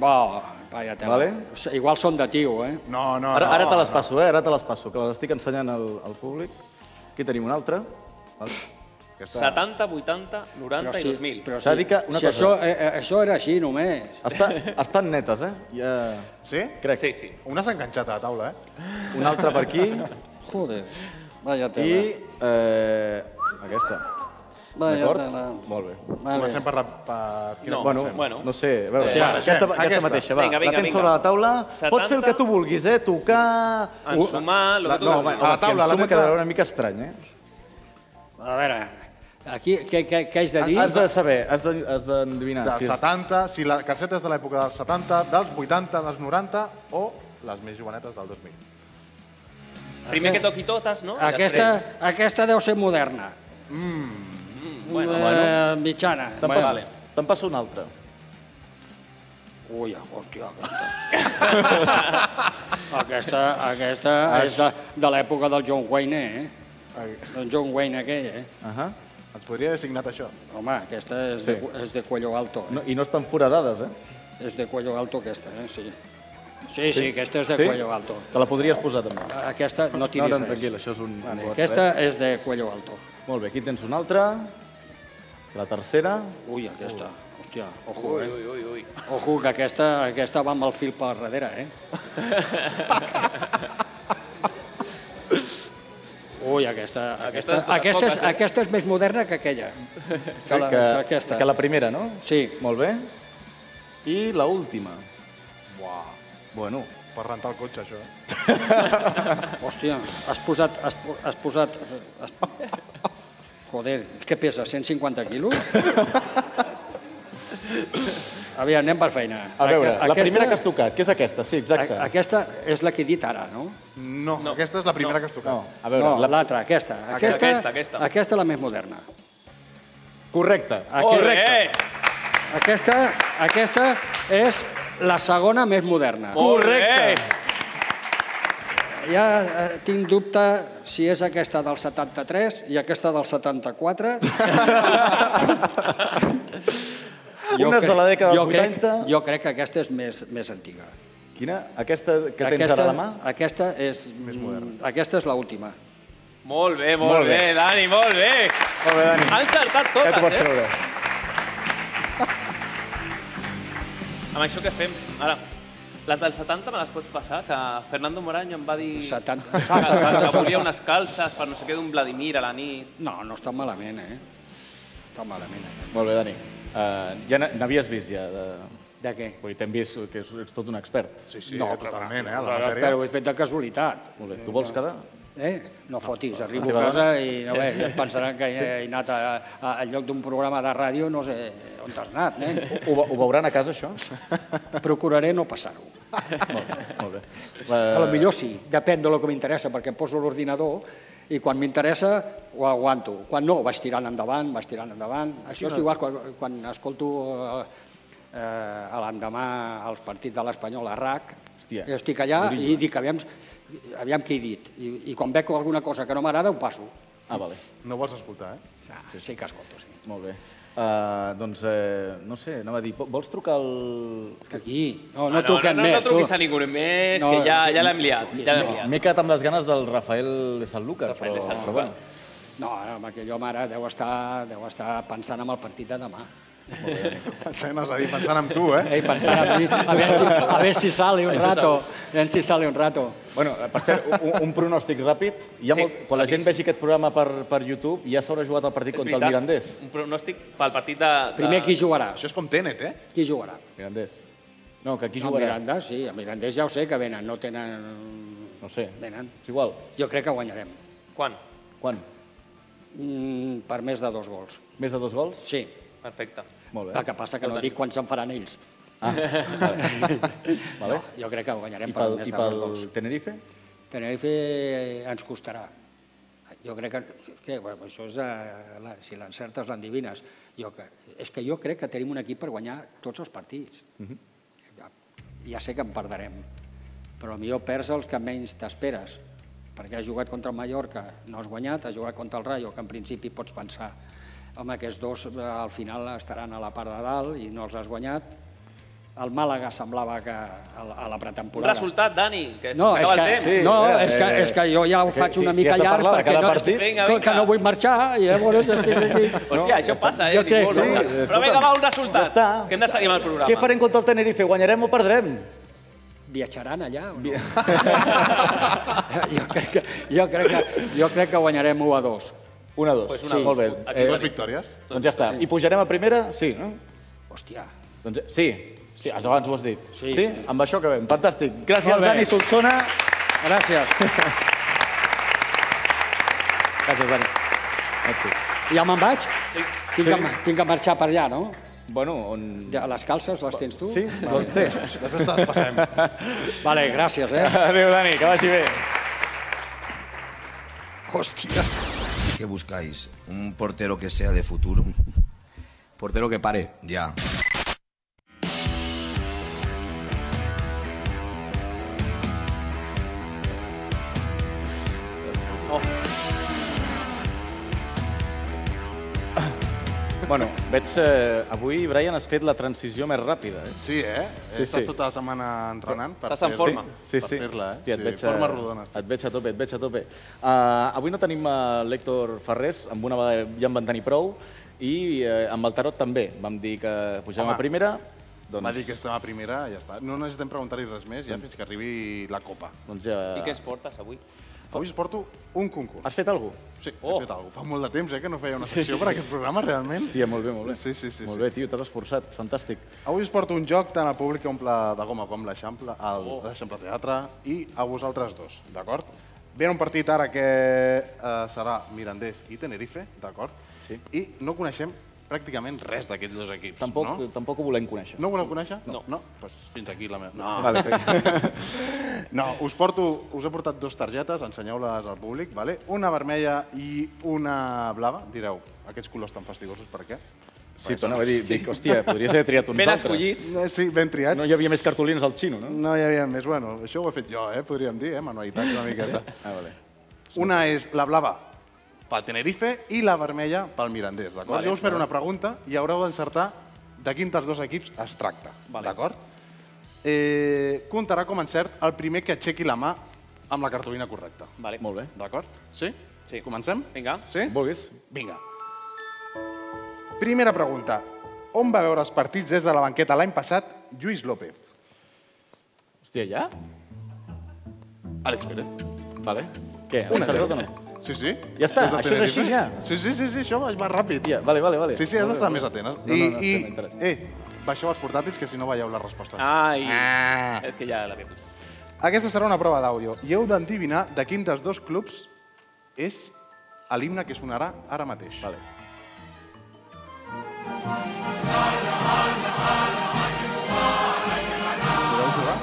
Speaker 12: Bo, vaja tela.
Speaker 2: Vale.
Speaker 12: Igual són de tio, eh?
Speaker 3: No, no,
Speaker 2: Ara, ara te les passo, eh? Ara te les passo, que les estic ensenyant al, al públic. Aquí tenim una altra. Vale.
Speaker 4: 70, 80, 90 i 2000.
Speaker 12: però
Speaker 2: S'ha de dir que una
Speaker 12: si
Speaker 2: cosa-
Speaker 12: Això, eh, eh, això era així només.
Speaker 2: Està, estan netes, eh? Ja...
Speaker 3: Sí?
Speaker 2: Crec.
Speaker 4: Sí, sí.
Speaker 3: Una s'ha enganxat a la taula, eh?
Speaker 2: Una altra per aquí.
Speaker 12: Joder. Vaya tela.
Speaker 2: I eh, aquesta.
Speaker 12: Vaya
Speaker 2: D'acord?
Speaker 12: Ah, tela.
Speaker 2: Molt bé.
Speaker 12: Vale.
Speaker 3: Comencem per la... Per... quina
Speaker 2: No, bueno,
Speaker 3: comencem?
Speaker 2: bueno, no sé, a veure,
Speaker 3: Eh,
Speaker 2: eh, aquesta,
Speaker 3: va,
Speaker 2: aquesta,
Speaker 3: aquesta.
Speaker 2: aquesta, mateixa, va.
Speaker 4: Vinga, vinga,
Speaker 2: la tens
Speaker 4: vinga.
Speaker 2: sobre la taula. 70... Pots fer el que
Speaker 4: 70.
Speaker 2: tu vulguis, eh? Tocar...
Speaker 4: Ensumar, lo que tu
Speaker 2: no, home,
Speaker 4: vulguis. A la
Speaker 2: home, si
Speaker 4: taula, la
Speaker 2: ensuma
Speaker 4: tens
Speaker 2: quedarà
Speaker 4: a-
Speaker 2: una mica estrany, eh?
Speaker 12: A veure, aquí què, què, què haig de dir?
Speaker 2: Has de saber, has de- has d'endevinar.
Speaker 3: Dels
Speaker 2: si és-
Speaker 3: 70, si la calceta és de l'època dels 70, dels 80, dels 90 o les més jovenetes del 2000.
Speaker 4: Primer que toqui totes, no? I
Speaker 12: Aquesta,
Speaker 4: després-
Speaker 12: aquesta deu ser moderna. Mm,
Speaker 4: bueno.
Speaker 12: eh, mitjana.
Speaker 2: Te'n passo, te'n passo una altra.
Speaker 12: Ui, hòstia, aquesta. aquesta, aquesta és de, de l'època del John Wayne, eh?
Speaker 3: Ai,
Speaker 12: Del John Wayne aquell, eh?
Speaker 2: Uh -huh.
Speaker 3: Ens podria haver signat això.
Speaker 12: Home, aquesta és, de,
Speaker 2: Sí.
Speaker 12: és de cuello alto, eh?
Speaker 2: No, I no estan foradades, eh?
Speaker 12: És de cuello alto aquesta, eh? Sí. Sí, sí, aquesta és de
Speaker 2: Sí?
Speaker 12: cuello alto.
Speaker 2: Te la podries posar també.
Speaker 12: Aquesta no
Speaker 2: No,
Speaker 12: tiris
Speaker 2: no,
Speaker 12: res.
Speaker 2: tranquil, això és un... un
Speaker 12: Vale,
Speaker 2: got,
Speaker 12: aquesta
Speaker 2: eh?
Speaker 12: és de cuello alto.
Speaker 2: Molt bé, aquí tens una altra. La tercera.
Speaker 12: Ui, aquesta. Hòstia, ojo,
Speaker 4: Ui,
Speaker 12: eh?
Speaker 4: ui, ui, ui.
Speaker 12: Ojo, que aquesta, aquesta va amb el fil per darrere, eh? Ui, aquesta, aquesta,
Speaker 4: és de les
Speaker 12: aquesta, és,
Speaker 4: poques, eh?
Speaker 12: aquesta és més moderna que aquella.
Speaker 2: Sí, que,
Speaker 12: aquesta.
Speaker 2: que la primera, no?
Speaker 12: Sí.
Speaker 2: Molt bé. I la última.
Speaker 3: Buah,
Speaker 2: Bueno,
Speaker 3: per rentar el cotxe, això. eh?
Speaker 12: Hòstia, has posat... Has, po- has posat has... Joder, què pesa, 150 quilos? Aviam, anem per feina.
Speaker 2: a veure,
Speaker 12: Aque-
Speaker 2: la primera que has tocat, que és aquesta, sí, exacte.
Speaker 12: a- Aquesta és la que he dit ara, no?
Speaker 3: No, no, aquesta és la primera no. que has tocat.
Speaker 2: No, a veure,
Speaker 12: No,
Speaker 2: la...
Speaker 12: l'altra, aquesta. Aquesta,
Speaker 4: aquesta, aquesta.
Speaker 12: aquesta és la més moderna.
Speaker 2: correcte.
Speaker 4: Correcte.
Speaker 12: Aquesta, aquesta és la segona més moderna.
Speaker 2: Oh.
Speaker 4: Correcte.
Speaker 12: Ja eh, tinc dubte si és aquesta del 73 i aquesta del 74. Jo
Speaker 2: Una és de la dècada
Speaker 12: jo
Speaker 2: dels
Speaker 12: crec-
Speaker 2: 80.
Speaker 12: Jo crec que aquesta és més, més antiga.
Speaker 2: Quina? Aquesta que tens
Speaker 12: aquesta,
Speaker 2: ara a la mà?
Speaker 12: Aquesta és, més moderna. Aquesta és l'última.
Speaker 4: Molt bé, molt,
Speaker 2: Molt bé.
Speaker 4: bé. Dani, molt bé.
Speaker 2: Molt bé, Dani.
Speaker 4: Han encertat
Speaker 2: Ja t'ho
Speaker 4: totes,
Speaker 2: pots
Speaker 4: eh?
Speaker 2: treure.
Speaker 4: Amb això què fem? Ara, les del 70 me les pots passar, que Fernando Moraño em va dir
Speaker 12: 70.
Speaker 4: que, que, que volia unes calces per no sé què d'un Vladimir a la nit.
Speaker 12: No, no està malament, eh? Està malament. Eh?
Speaker 2: Molt bé, Dani. Uh, ja n'ha- n'havies vist, ja. De...
Speaker 12: De què?
Speaker 2: Vull dir, t'hem vist que ets, ets tot un expert.
Speaker 3: Sí, sí,
Speaker 12: No,
Speaker 3: no,
Speaker 12: però-
Speaker 3: totalment, eh, a la
Speaker 12: Però,
Speaker 3: matèria.
Speaker 12: però ho he fet de casualitat.
Speaker 2: Molt bé. Tu vols quedar?
Speaker 12: Eh? No Eh. fotis, arribo
Speaker 2: teva dona-
Speaker 12: a casa i no bé, ja pensaran que he anat a, a, al lloc d'un programa de ràdio, no sé on has anat, nen.
Speaker 2: Ho, ho veuran a casa, això?
Speaker 12: Procuraré no passar-ho.
Speaker 2: molt bé, molt bé.
Speaker 12: A
Speaker 2: La...
Speaker 12: lo millor sí, depèn de lo que m'interessa, perquè em poso l'ordinador i quan m'interessa ho aguanto. Quan no, vaig tirant endavant, vaig tirant endavant. Això és igual quan, quan escolto eh, eh, a l'endemà els partits de l'Espanyol a RAC,
Speaker 2: Hòstia,
Speaker 12: jo estic allà
Speaker 2: duríssim, eh?
Speaker 12: i dic, aviam, aviam què he dit. I, I quan veig alguna cosa que no m'agrada, ho passo.
Speaker 2: Ah, vale.
Speaker 3: No vols escoltar, eh?
Speaker 12: Sí, sí que escolto, sí.
Speaker 2: Molt bé. Uh, doncs, eh, no sé, anava a dir, vo- vols trucar al...
Speaker 12: És que aquí... No, no,
Speaker 4: Ah,
Speaker 12: truquem
Speaker 4: no, no,
Speaker 12: més,
Speaker 4: no truquis
Speaker 12: tu.
Speaker 4: a ningú més,
Speaker 12: No,
Speaker 4: que ja, ja l'hem liat. Ja l'hem liat.
Speaker 2: M'he quedat amb les ganes del Rafael de Sant Lucas,
Speaker 4: Rafael de
Speaker 2: però,
Speaker 4: Sant
Speaker 2: però
Speaker 4: Lucas.
Speaker 2: bueno.
Speaker 12: No, home, aquell home ara deu estar, deu estar pensant en el partit de demà.
Speaker 3: Pensant, és a dir, pensant en tu, eh?
Speaker 12: Ei, pensant en mi, a veure si, a veure si sale un rato. A veure si sale un rato.
Speaker 2: Bueno, eh, per cert, un, un pronòstic ràpid. Hi ha
Speaker 4: Sí,
Speaker 2: molt, quan la gent vegi aquest programa per, per YouTube, ja s'haurà jugat el partit contra el
Speaker 4: Veritat,
Speaker 2: Mirandés.
Speaker 4: Un pronòstic pel partit de... de...
Speaker 12: Primer, qui jugarà?
Speaker 3: Això és com Tenet, eh?
Speaker 12: Ah. Qui jugarà?
Speaker 2: Mirandés. No, que aquí
Speaker 12: No,
Speaker 2: jugarà.
Speaker 12: Miranda, sí, a Mirandés ja ho sé que venen, no tenen...
Speaker 2: No sé.
Speaker 12: Venen.
Speaker 2: És igual.
Speaker 12: Jo crec que guanyarem,
Speaker 4: Quan?
Speaker 2: Quan?
Speaker 12: mm, per més de dos gols.
Speaker 2: Més de dos gols?
Speaker 12: Sí,
Speaker 4: Perfecte.
Speaker 2: Molt
Speaker 12: el
Speaker 2: bé.
Speaker 12: que passa que no dic quan se'n faran ells.
Speaker 2: Vale.
Speaker 12: No, jo crec que guanyarem
Speaker 2: I
Speaker 12: per
Speaker 2: pel,
Speaker 12: més
Speaker 2: i
Speaker 12: de
Speaker 2: pel
Speaker 12: dos gols.
Speaker 2: Tenerife?
Speaker 12: Tenerife eh, ens costarà. Jo crec que, que bueno, això és, eh, la, si l'encertes l'endevines. Jo que, és que jo crec que tenim un equip per guanyar tots els partits. ja sé que en perdrem, però millor perds els que menys t'esperes, perquè has jugat contra el Mallorca, no has guanyat, has jugat contra el Rayo, que en principi pots pensar home, aquests dos eh, al final estaran a la part de dalt i no els has guanyat. El Màlaga semblava que a la- a la
Speaker 4: Un
Speaker 12: pretemporada.
Speaker 4: resultat, Dani, que
Speaker 12: No,
Speaker 4: s'acaba
Speaker 12: és
Speaker 4: el
Speaker 12: que,
Speaker 4: temps.
Speaker 12: no,
Speaker 2: eh,
Speaker 12: és que, és que jo ja ho
Speaker 2: que
Speaker 12: faig
Speaker 2: si-
Speaker 12: una
Speaker 2: si
Speaker 12: mica
Speaker 2: has de
Speaker 12: llarg
Speaker 2: parlar de
Speaker 12: perquè
Speaker 2: cada
Speaker 12: no,
Speaker 2: partit-
Speaker 4: Vinga,
Speaker 12: que- que
Speaker 4: vinga.
Speaker 12: no vull marxar i llavors estic aquí.
Speaker 4: Hòstia, això passa, eh?
Speaker 12: Jo crec,
Speaker 4: Ningú
Speaker 12: sí,
Speaker 4: marxa. Però vinga,
Speaker 12: escolta'm,
Speaker 4: va, un resultat. Ja que hem de seguir amb el programa.
Speaker 2: Què farem contra el Tenerife? Guanyarem o perdrem?
Speaker 12: Viatjaran allà o no? jo, crec que, jo, crec que, jo crec que guanyarem 1 a 2.
Speaker 2: 1 a 2.
Speaker 12: Pues
Speaker 2: Pues
Speaker 12: una
Speaker 2: sí,
Speaker 12: dos.
Speaker 2: molt bé.
Speaker 12: Aquí dues
Speaker 2: victòries. Doncs ja està. I pujarem a primera? Sí, no?
Speaker 12: Hòstia.
Speaker 2: Doncs, sí, sí, abans ho has dit.
Speaker 12: Sí, sí.
Speaker 2: Amb això acabem. Fantàstic. Gràcies,
Speaker 12: Molt bé.
Speaker 2: Dani Solsona.
Speaker 12: Gràcies.
Speaker 2: Gràcies, Dani. Merci.
Speaker 12: Ja me'n vaig? Sí. Tinc,
Speaker 2: Sí.
Speaker 12: que, tinc que marxar per allà, no?
Speaker 2: Bueno, on...
Speaker 12: Ja, les calces les tens tu?
Speaker 2: Sí,
Speaker 12: Vale.
Speaker 2: les té. Després te les passem.
Speaker 12: Vale, gràcies, eh?
Speaker 2: Adéu, Dani, que vagi bé.
Speaker 12: Hòstia.
Speaker 13: ¿Qué buscáis? ¿Un portero que sea de futuro? Portero que pare. Ya.
Speaker 2: Bueno, veig... Eh, avui, Brian, has fet la transició més ràpida. Eh?
Speaker 3: Sí, eh? He estat tota la setmana entrenant per
Speaker 2: Estàs en
Speaker 3: fer-
Speaker 2: forma.
Speaker 3: Sí, sí. Per fer-la, eh?
Speaker 2: Hòstia, et
Speaker 3: sí,
Speaker 2: veig,
Speaker 3: forma
Speaker 2: a-
Speaker 3: rodona.
Speaker 2: Et veig a tope, et veig a tope. Uh, avui no tenim uh, l'Hèctor Ferrés, amb una vegada ja en van tenir prou, i uh, amb el Tarot també. Vam dir que pugem
Speaker 3: Home,
Speaker 2: a primera,
Speaker 3: Doncs...
Speaker 2: doncs,
Speaker 3: Va dir que estem a primera, ja està. No necessitem preguntar-hi res més,
Speaker 2: Mm.
Speaker 3: ja fins que arribi la copa.
Speaker 2: doncs ja...
Speaker 4: I què ens portes avui?
Speaker 3: Avui us porto un concurs.
Speaker 2: Has fet alguna
Speaker 3: Sí, oh. he fet alguna Fa molt de temps eh, que no feia una sessió per aquest programa, realment.
Speaker 2: Hòstia, molt bé, molt bé.
Speaker 3: Sí, sí, sí.
Speaker 2: Molt
Speaker 3: sí.
Speaker 2: bé, tio, t'has esforçat, fantàstic.
Speaker 3: Avui us porto un joc tant al públic que omple de goma com l'Eixample, al oh. l'Eixample Teatre, i a vosaltres dos, d'acord? Ve un partit ara que eh, serà Mirandés i Tenerife, d'acord? Sí. I no coneixem pràcticament res d'aquests dos equips,
Speaker 2: Tampoc,
Speaker 3: no?
Speaker 2: tampoc ho volem conèixer. Ah.
Speaker 3: No ho voleu conèixer? No. no. Pues fins aquí la meva... No.
Speaker 2: Vale,
Speaker 3: no, us, porto, us he portat dues targetes, ensenyeu-les al públic, vale? una vermella i una blava. Direu, aquests colors tan fastigosos, per què?
Speaker 2: Sí, però anava a dir, dic, hòstia, podries haver triat uns altres.
Speaker 3: Eh, Sí, ben triats.
Speaker 2: No hi havia més cartolines al xino, no?
Speaker 3: No hi havia més. Bueno, això ho he fet jo, eh? podríem dir, eh? manualitats una miqueta.
Speaker 2: Ah, vale.
Speaker 3: Una és la blava pel Tenerife i la vermella pel Mirandés, d'acord?
Speaker 2: Vale,
Speaker 3: jo us faré
Speaker 2: vale.
Speaker 3: una pregunta i haureu d'encertar de quin dels dos equips es tracta, d'acord? Eh, comptarà com a encert el primer que aixequi la mà amb la cartolina correcta.
Speaker 4: Vale.
Speaker 2: Molt bé.
Speaker 3: D'acord? Sí? Sí. Comencem?
Speaker 4: Vinga.
Speaker 3: Sí?
Speaker 2: Vulguis.
Speaker 3: Vinga. Primera pregunta. On va veure els partits des de la banqueta l'any passat Lluís López?
Speaker 2: Hòstia, ja?
Speaker 3: Àlex Pérez.
Speaker 2: Vale. Què,
Speaker 3: Una
Speaker 2: l'hem encertat o no?
Speaker 3: Sí, sí.
Speaker 2: Ja està,
Speaker 3: Des
Speaker 2: això
Speaker 3: de
Speaker 2: és
Speaker 3: Tenerife.
Speaker 2: així ja.
Speaker 3: Sí, sí, sí, sí això va, va ràpid.
Speaker 2: Ja, vale, vale, vale.
Speaker 3: Sí, sí, has
Speaker 2: Molt bé,
Speaker 3: d'estar
Speaker 2: molt
Speaker 3: més
Speaker 2: bé.
Speaker 3: atent.
Speaker 2: No, no, no,
Speaker 3: I,
Speaker 2: estem enterats.
Speaker 3: i, eh, baixeu els portàtils, que si no veieu les respostes.
Speaker 2: Ah.
Speaker 4: Ai, és que ja l'havia posat.
Speaker 3: Aquesta serà una prova d'àudio i heu d'endivinar de quin dels dos clubs és l'himne que sonarà ara mateix. Vale. Podeu jugar?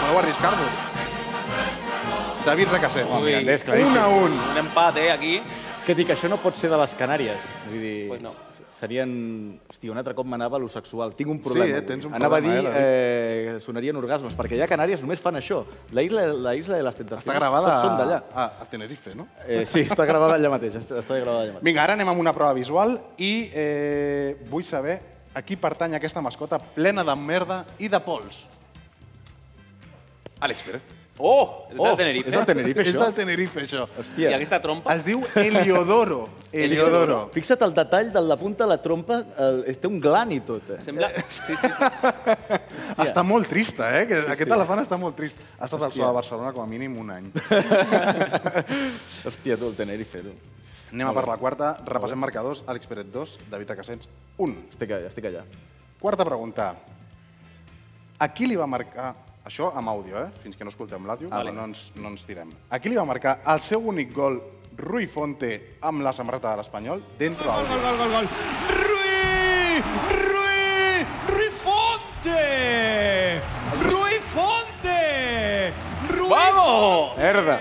Speaker 3: Podeu arriscar-vos. David Recassé.
Speaker 2: Home, Mirandés, claríssim.
Speaker 3: un a un.
Speaker 4: Un empat, eh, aquí.
Speaker 2: És que dic, això no pot ser de les Canàries. Vull dir,
Speaker 4: Pues no.
Speaker 2: serien... Hòstia, un altre cop m'anava a lo sexual. Tinc un problema.
Speaker 3: eh,
Speaker 2: avui.
Speaker 3: tens un
Speaker 2: Anava
Speaker 3: problema,
Speaker 2: a dir, eh, sonarien orgasmes, perquè ja a Canàries només fan això. La isla, la isla de les tentacions.
Speaker 3: Està gravada
Speaker 2: Tots són d'allà.
Speaker 3: a, a Tenerife, no?
Speaker 2: Eh, sí, està gravada allà mateix. Està, està gravada allà mateix.
Speaker 3: Vinga, ara anem amb una prova visual i eh, vull saber a qui pertany aquesta mascota plena de merda i de pols. Àlex Pérez.
Speaker 4: Oh, és
Speaker 3: Oh,
Speaker 4: del Tenerife.
Speaker 3: és del Tenerife, això? És del Tenerife, això.
Speaker 4: I aquesta trompa?
Speaker 3: Es diu Heliodoro. Heliodoro.
Speaker 2: Eh, Fixa't el detall de la punta de la trompa, el, es té un glan i tot. Eh?
Speaker 4: Sembla... Sí, sí.
Speaker 3: Hòstia. Està molt trista, eh? Que aquest elefant està molt trist. Ha estat al
Speaker 2: Hòstia.
Speaker 3: sol de Barcelona com a mínim un any.
Speaker 2: Hòstia, tu, el Tenerife, tu.
Speaker 3: Anem a per la quarta. Repassem marcadors. Àlex Pérez 2, David Acassens 1.
Speaker 2: Estic allà, estic allà.
Speaker 3: Quarta pregunta. A qui li va marcar... Això amb àudio, eh? Fins que no escoltem l'àudio,
Speaker 2: Ah, vale.
Speaker 3: no, ens, no ens tirem. A qui li va marcar el seu únic gol Rui Fonte amb la samarreta de l'Espanyol dentro àudio?
Speaker 1: gol, gol, gol. Rui, Rui, Rui Fonte. Rui Fonte. Rui
Speaker 3: Vamos! Merda.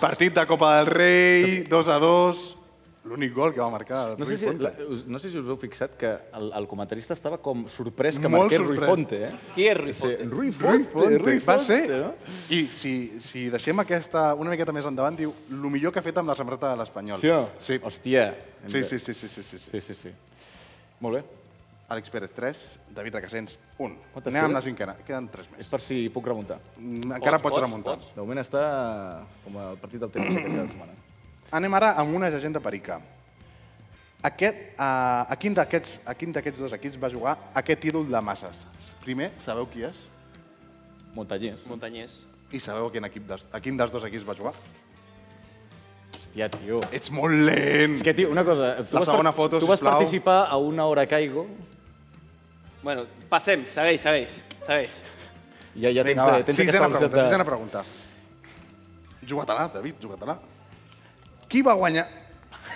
Speaker 3: Partit de Copa del Rei, 2 a 2. L'únic gol que va marcar
Speaker 2: No sé,
Speaker 3: Ruiz
Speaker 2: si,
Speaker 3: Fonte.
Speaker 2: la, us- no sé si us heu fixat que el, el comentarista estava com sorprès que
Speaker 3: Molt
Speaker 2: marqués Rui
Speaker 3: sorprès.
Speaker 2: Fonte. Eh?
Speaker 4: Qui és Rui
Speaker 2: Fonte? Rui
Speaker 3: Rui
Speaker 2: Fonte,
Speaker 3: Fonte,
Speaker 2: Rui
Speaker 3: va
Speaker 2: Fonte,
Speaker 3: ser.
Speaker 2: no?
Speaker 3: I si, si deixem aquesta una miqueta més endavant, diu, el millor que ha fet amb la samarreta de l'Espanyol.
Speaker 2: Sí o no?
Speaker 3: Sí.
Speaker 2: Hòstia.
Speaker 3: Sí, sí, sí, sí, sí, sí, sí.
Speaker 2: Sí, sí, sí. Molt bé.
Speaker 3: Àlex Pérez, 3. David Requesens, 1.
Speaker 2: Quantes
Speaker 3: Anem
Speaker 2: queden?
Speaker 3: amb la cinquena. Queden 3 més.
Speaker 2: És per si puc remuntar.
Speaker 3: Doncs,
Speaker 2: Doncs.
Speaker 3: Encara Pots, pots pots, remuntar. pots.
Speaker 2: De moment està com el partit del temps aquesta setmana.
Speaker 3: Anem ara amb una llegenda perica. Aquest, eh, a, a quin d'aquests a quin d'aquests dos equips va jugar aquest ídol de masses? Primer, sabeu qui és?
Speaker 2: Montanyers.
Speaker 4: Montanyers.
Speaker 3: I sabeu a quin, equip dels, a quin dels dos equips va jugar?
Speaker 2: Hòstia, tio.
Speaker 3: Ets molt lent.
Speaker 2: És que, tio, una cosa... eh, tu
Speaker 3: La
Speaker 2: vas
Speaker 3: segona
Speaker 2: par-
Speaker 3: foto,
Speaker 2: Tu vas
Speaker 3: sisplau.
Speaker 2: participar a una hora caigo.
Speaker 4: Bueno, passem, segueix, segueix, segueix.
Speaker 2: Ja, ja tens,
Speaker 3: Vinga, va,
Speaker 2: tens
Speaker 3: sisena
Speaker 2: aquesta
Speaker 3: pregunta,
Speaker 2: velocitat
Speaker 3: sisena pregunta. Juga-te-la, David, juga-te-la. Qui va guanyar...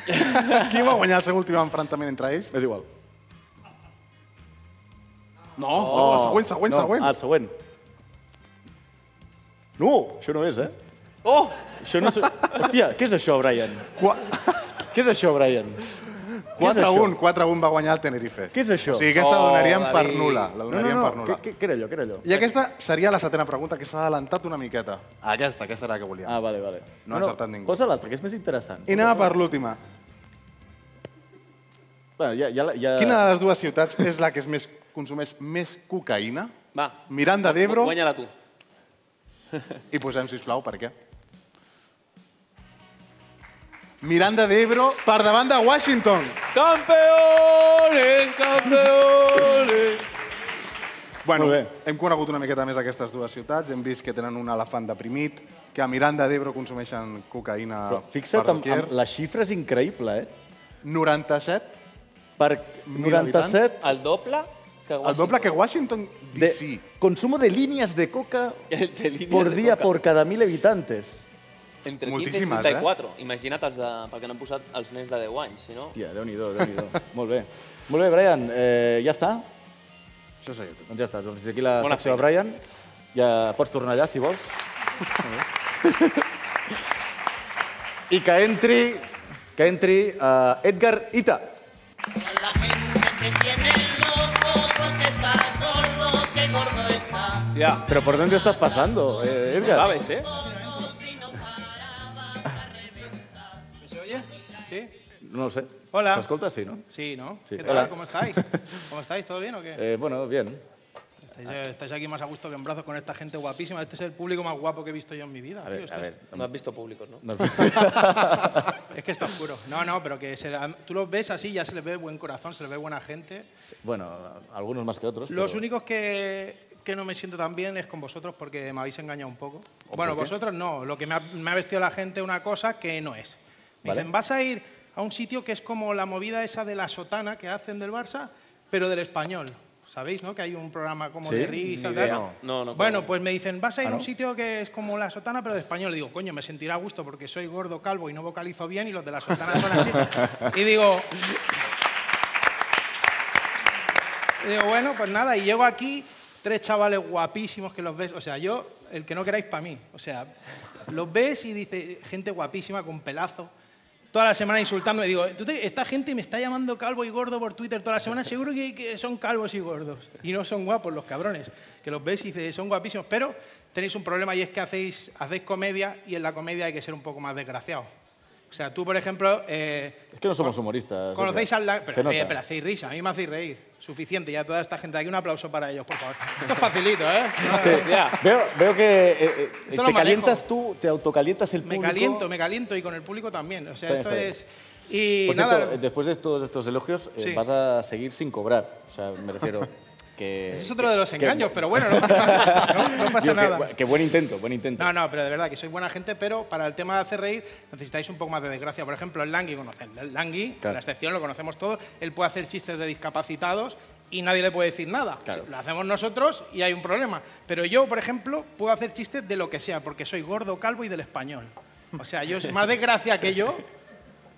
Speaker 3: Qui va guanyar el seu últim enfrontament entre ells?
Speaker 2: És igual.
Speaker 3: No, no, Oh, la següent,
Speaker 2: Oh,
Speaker 3: següent,
Speaker 2: no, ah,
Speaker 3: següent.
Speaker 2: El següent. No, això no és, eh?
Speaker 4: Oh!
Speaker 2: Això no és... Hòstia, què és això, Brian?
Speaker 3: Qua...
Speaker 2: Què és això, Brian?
Speaker 3: 4-1, 4-1 va guanyar el Tenerife.
Speaker 2: Què és això?
Speaker 3: O sigui, aquesta la
Speaker 2: Oh,
Speaker 3: donaríem per
Speaker 2: David.
Speaker 3: nula. La
Speaker 2: No, no,
Speaker 3: donaríem
Speaker 2: no,
Speaker 3: per nula.
Speaker 2: Què, què era allò? Què era allò?
Speaker 3: I aquesta seria la setena pregunta, que s'ha adelantat una miqueta. Aquesta, aquesta era la que volíem.
Speaker 2: Ah, vale, vale.
Speaker 3: No ha encertat ningú.
Speaker 2: Posa-la, perquè és més interessant.
Speaker 3: I anem per l'última.
Speaker 2: Bueno, ja, ja, la- ja...
Speaker 3: Quina de les dues ciutats és la que es més consumeix més cocaïna?
Speaker 4: Va.
Speaker 3: Miranda d'Ebro.
Speaker 4: Guanya-la tu.
Speaker 3: I posem, sisplau, per què? Miranda d'Ebro per davant de Washington.
Speaker 4: Campeones, campeones.
Speaker 3: Bueno, hem conegut una miqueta més aquestes dues ciutats, hem vist que tenen un elefant deprimit, que a Miranda d'Ebro consumeixen cocaïna
Speaker 2: Però fixa't, amb,
Speaker 3: parroquier.
Speaker 2: amb, la xifra és increïble, eh?
Speaker 3: 97.
Speaker 2: Per
Speaker 3: Mil
Speaker 2: 97...
Speaker 4: El doble que
Speaker 3: El doble que Washington
Speaker 2: De,
Speaker 3: DC.
Speaker 2: Consumo de líneas de coca
Speaker 4: De línia
Speaker 2: por
Speaker 4: de
Speaker 2: día
Speaker 4: coca.
Speaker 2: por cada mil habitantes.
Speaker 4: Entre 15 i
Speaker 2: Moltíssimes,
Speaker 4: 64. Eh? Imagina't els de... perquè n'han posat els nens de 10 anys, si no...
Speaker 2: Hòstia, déu-n'hi-do, déu-n'hi-do. Molt bé. Molt bé, Brian, eh, ja està?
Speaker 3: Això seria tot.
Speaker 2: Doncs ja està, doncs fins aquí la
Speaker 4: Bona
Speaker 2: secció de Brian. Ja pots tornar allà, si vols. Molt bé. I que entri, que entri eh, Edgar Ita.
Speaker 14: Te tiene loco porque está gordo, que gordo está.
Speaker 4: Ya.
Speaker 2: Pero ¿por dónde estás pasando, eh, Edgar?
Speaker 4: ¿Sabes, eh?
Speaker 12: ¿Se oye? ¿Sí?
Speaker 2: No lo sé.
Speaker 12: Hola.
Speaker 2: ¿Se escolta? Sí, ¿no?
Speaker 12: Sí, ¿no?
Speaker 2: Sí.
Speaker 12: ¿Qué tal?
Speaker 2: Hola.
Speaker 12: ¿Cómo estáis? ¿Cómo estáis? ¿Todo bien o qué?
Speaker 2: Eh, bueno, bien.
Speaker 12: Estáis, eh, estáis aquí más a gusto que en brazos con esta gente guapísima. Este es el público más guapo que he visto yo en mi vida.
Speaker 2: A ver,
Speaker 12: tío,
Speaker 2: a ver,
Speaker 12: estáis-
Speaker 4: No has visto públicos, ¿no?
Speaker 2: No.
Speaker 12: es que está oscuro. No, no, pero que se la- tú los ves así, ya se les ve buen corazón, se les ve buena gente.
Speaker 2: Bueno, algunos más que otros.
Speaker 12: Los
Speaker 2: pero-
Speaker 12: únicos que, que no me siento tan bien es con vosotros porque me habéis engañado un poco.
Speaker 2: ¿O
Speaker 12: Bueno,
Speaker 2: por qué?
Speaker 12: vosotros no. Lo que me ha, me ha vestido la gente una cosa que no es. Me
Speaker 2: Vale.
Speaker 12: dicen, vas a ir a un sitio que es como la movida esa de la sotana que hacen del Barça, pero del español. ¿Sabéis, no? Que hay un programa como
Speaker 4: Sí,
Speaker 12: de risa.
Speaker 4: ni
Speaker 12: tal.
Speaker 4: idea. No, no,
Speaker 12: bueno,
Speaker 4: pero-
Speaker 12: pues me dicen, vas a ir
Speaker 4: Ah,
Speaker 12: a un
Speaker 4: ¿no?
Speaker 12: sitio que es como la sotana, pero de español. Y digo, coño, me sentirá a gusto porque soy gordo, calvo y no vocalizo bien y los de la sotana son así. y digo, Y digo, bueno, pues nada, y llego aquí, tres chavales guapísimos que los ves, o sea, yo, el que no queráis para mí, o sea, los ves y dice, gente guapísima con pelazo, toda la semana insultándome, digo, "Tú te- esta gente me está llamando calvo y gordo por Twitter toda la semana, seguro que, que son calvos y gordos, y no son guapos los cabrones, que los ves y dices, son guapísimos, pero tenéis un problema y es que hacéis, hacéis comedia y en la comedia hay que ser un poco más desgraciado. O sea, tú, por ejemplo, eh,
Speaker 2: Es que no somos humoristas.
Speaker 12: Conocéis
Speaker 2: Edgar.
Speaker 12: al... la- Pero,
Speaker 2: Se nota.
Speaker 12: hacéis- pero hacéis risa, a mí me hacéis reír. Suficiente, ya toda esta gente de aquí, un aplauso para ellos, por favor. Esto es facilito, ¿eh?
Speaker 2: Sí. Veo, veo que eh, eh,
Speaker 12: Eso
Speaker 2: te
Speaker 12: lo manejo.
Speaker 2: calientas tú, te autocalientas el
Speaker 12: Me
Speaker 2: público.
Speaker 12: caliento, me caliento y con el público también. O sea,
Speaker 2: Está
Speaker 12: esto
Speaker 2: bien,
Speaker 12: es...
Speaker 2: está
Speaker 12: Y
Speaker 2: Por
Speaker 12: nada,
Speaker 2: cierto, eh, después de todos estos elogios, eh,
Speaker 12: Sí.
Speaker 2: vas a seguir sin cobrar. O sea, me refiero que...
Speaker 12: Ese es otro de los
Speaker 2: que-
Speaker 12: engaños, pero bueno, no pasa- no- no pasa
Speaker 2: Digo, que-
Speaker 12: nada.
Speaker 2: Que, buen intento, buen intento.
Speaker 12: No, no, Ah, pero de verdad que sois buena gente, pero para el tema de hacer reír necesitáis un poco más de desgracia. Por ejemplo, el Langui, conocen. El Langui,
Speaker 2: Claro.
Speaker 12: la excepción, lo conocemos todos, él puede hacer chistes de discapacitados y nadie le puede decir nada.
Speaker 2: Claro.
Speaker 12: Lo hacemos nosotros y hay un problema. Pero yo, por ejemplo, puedo hacer chistes de lo que sea, porque soy gordo, calvo y del español. O sea, yo más desgracia que yo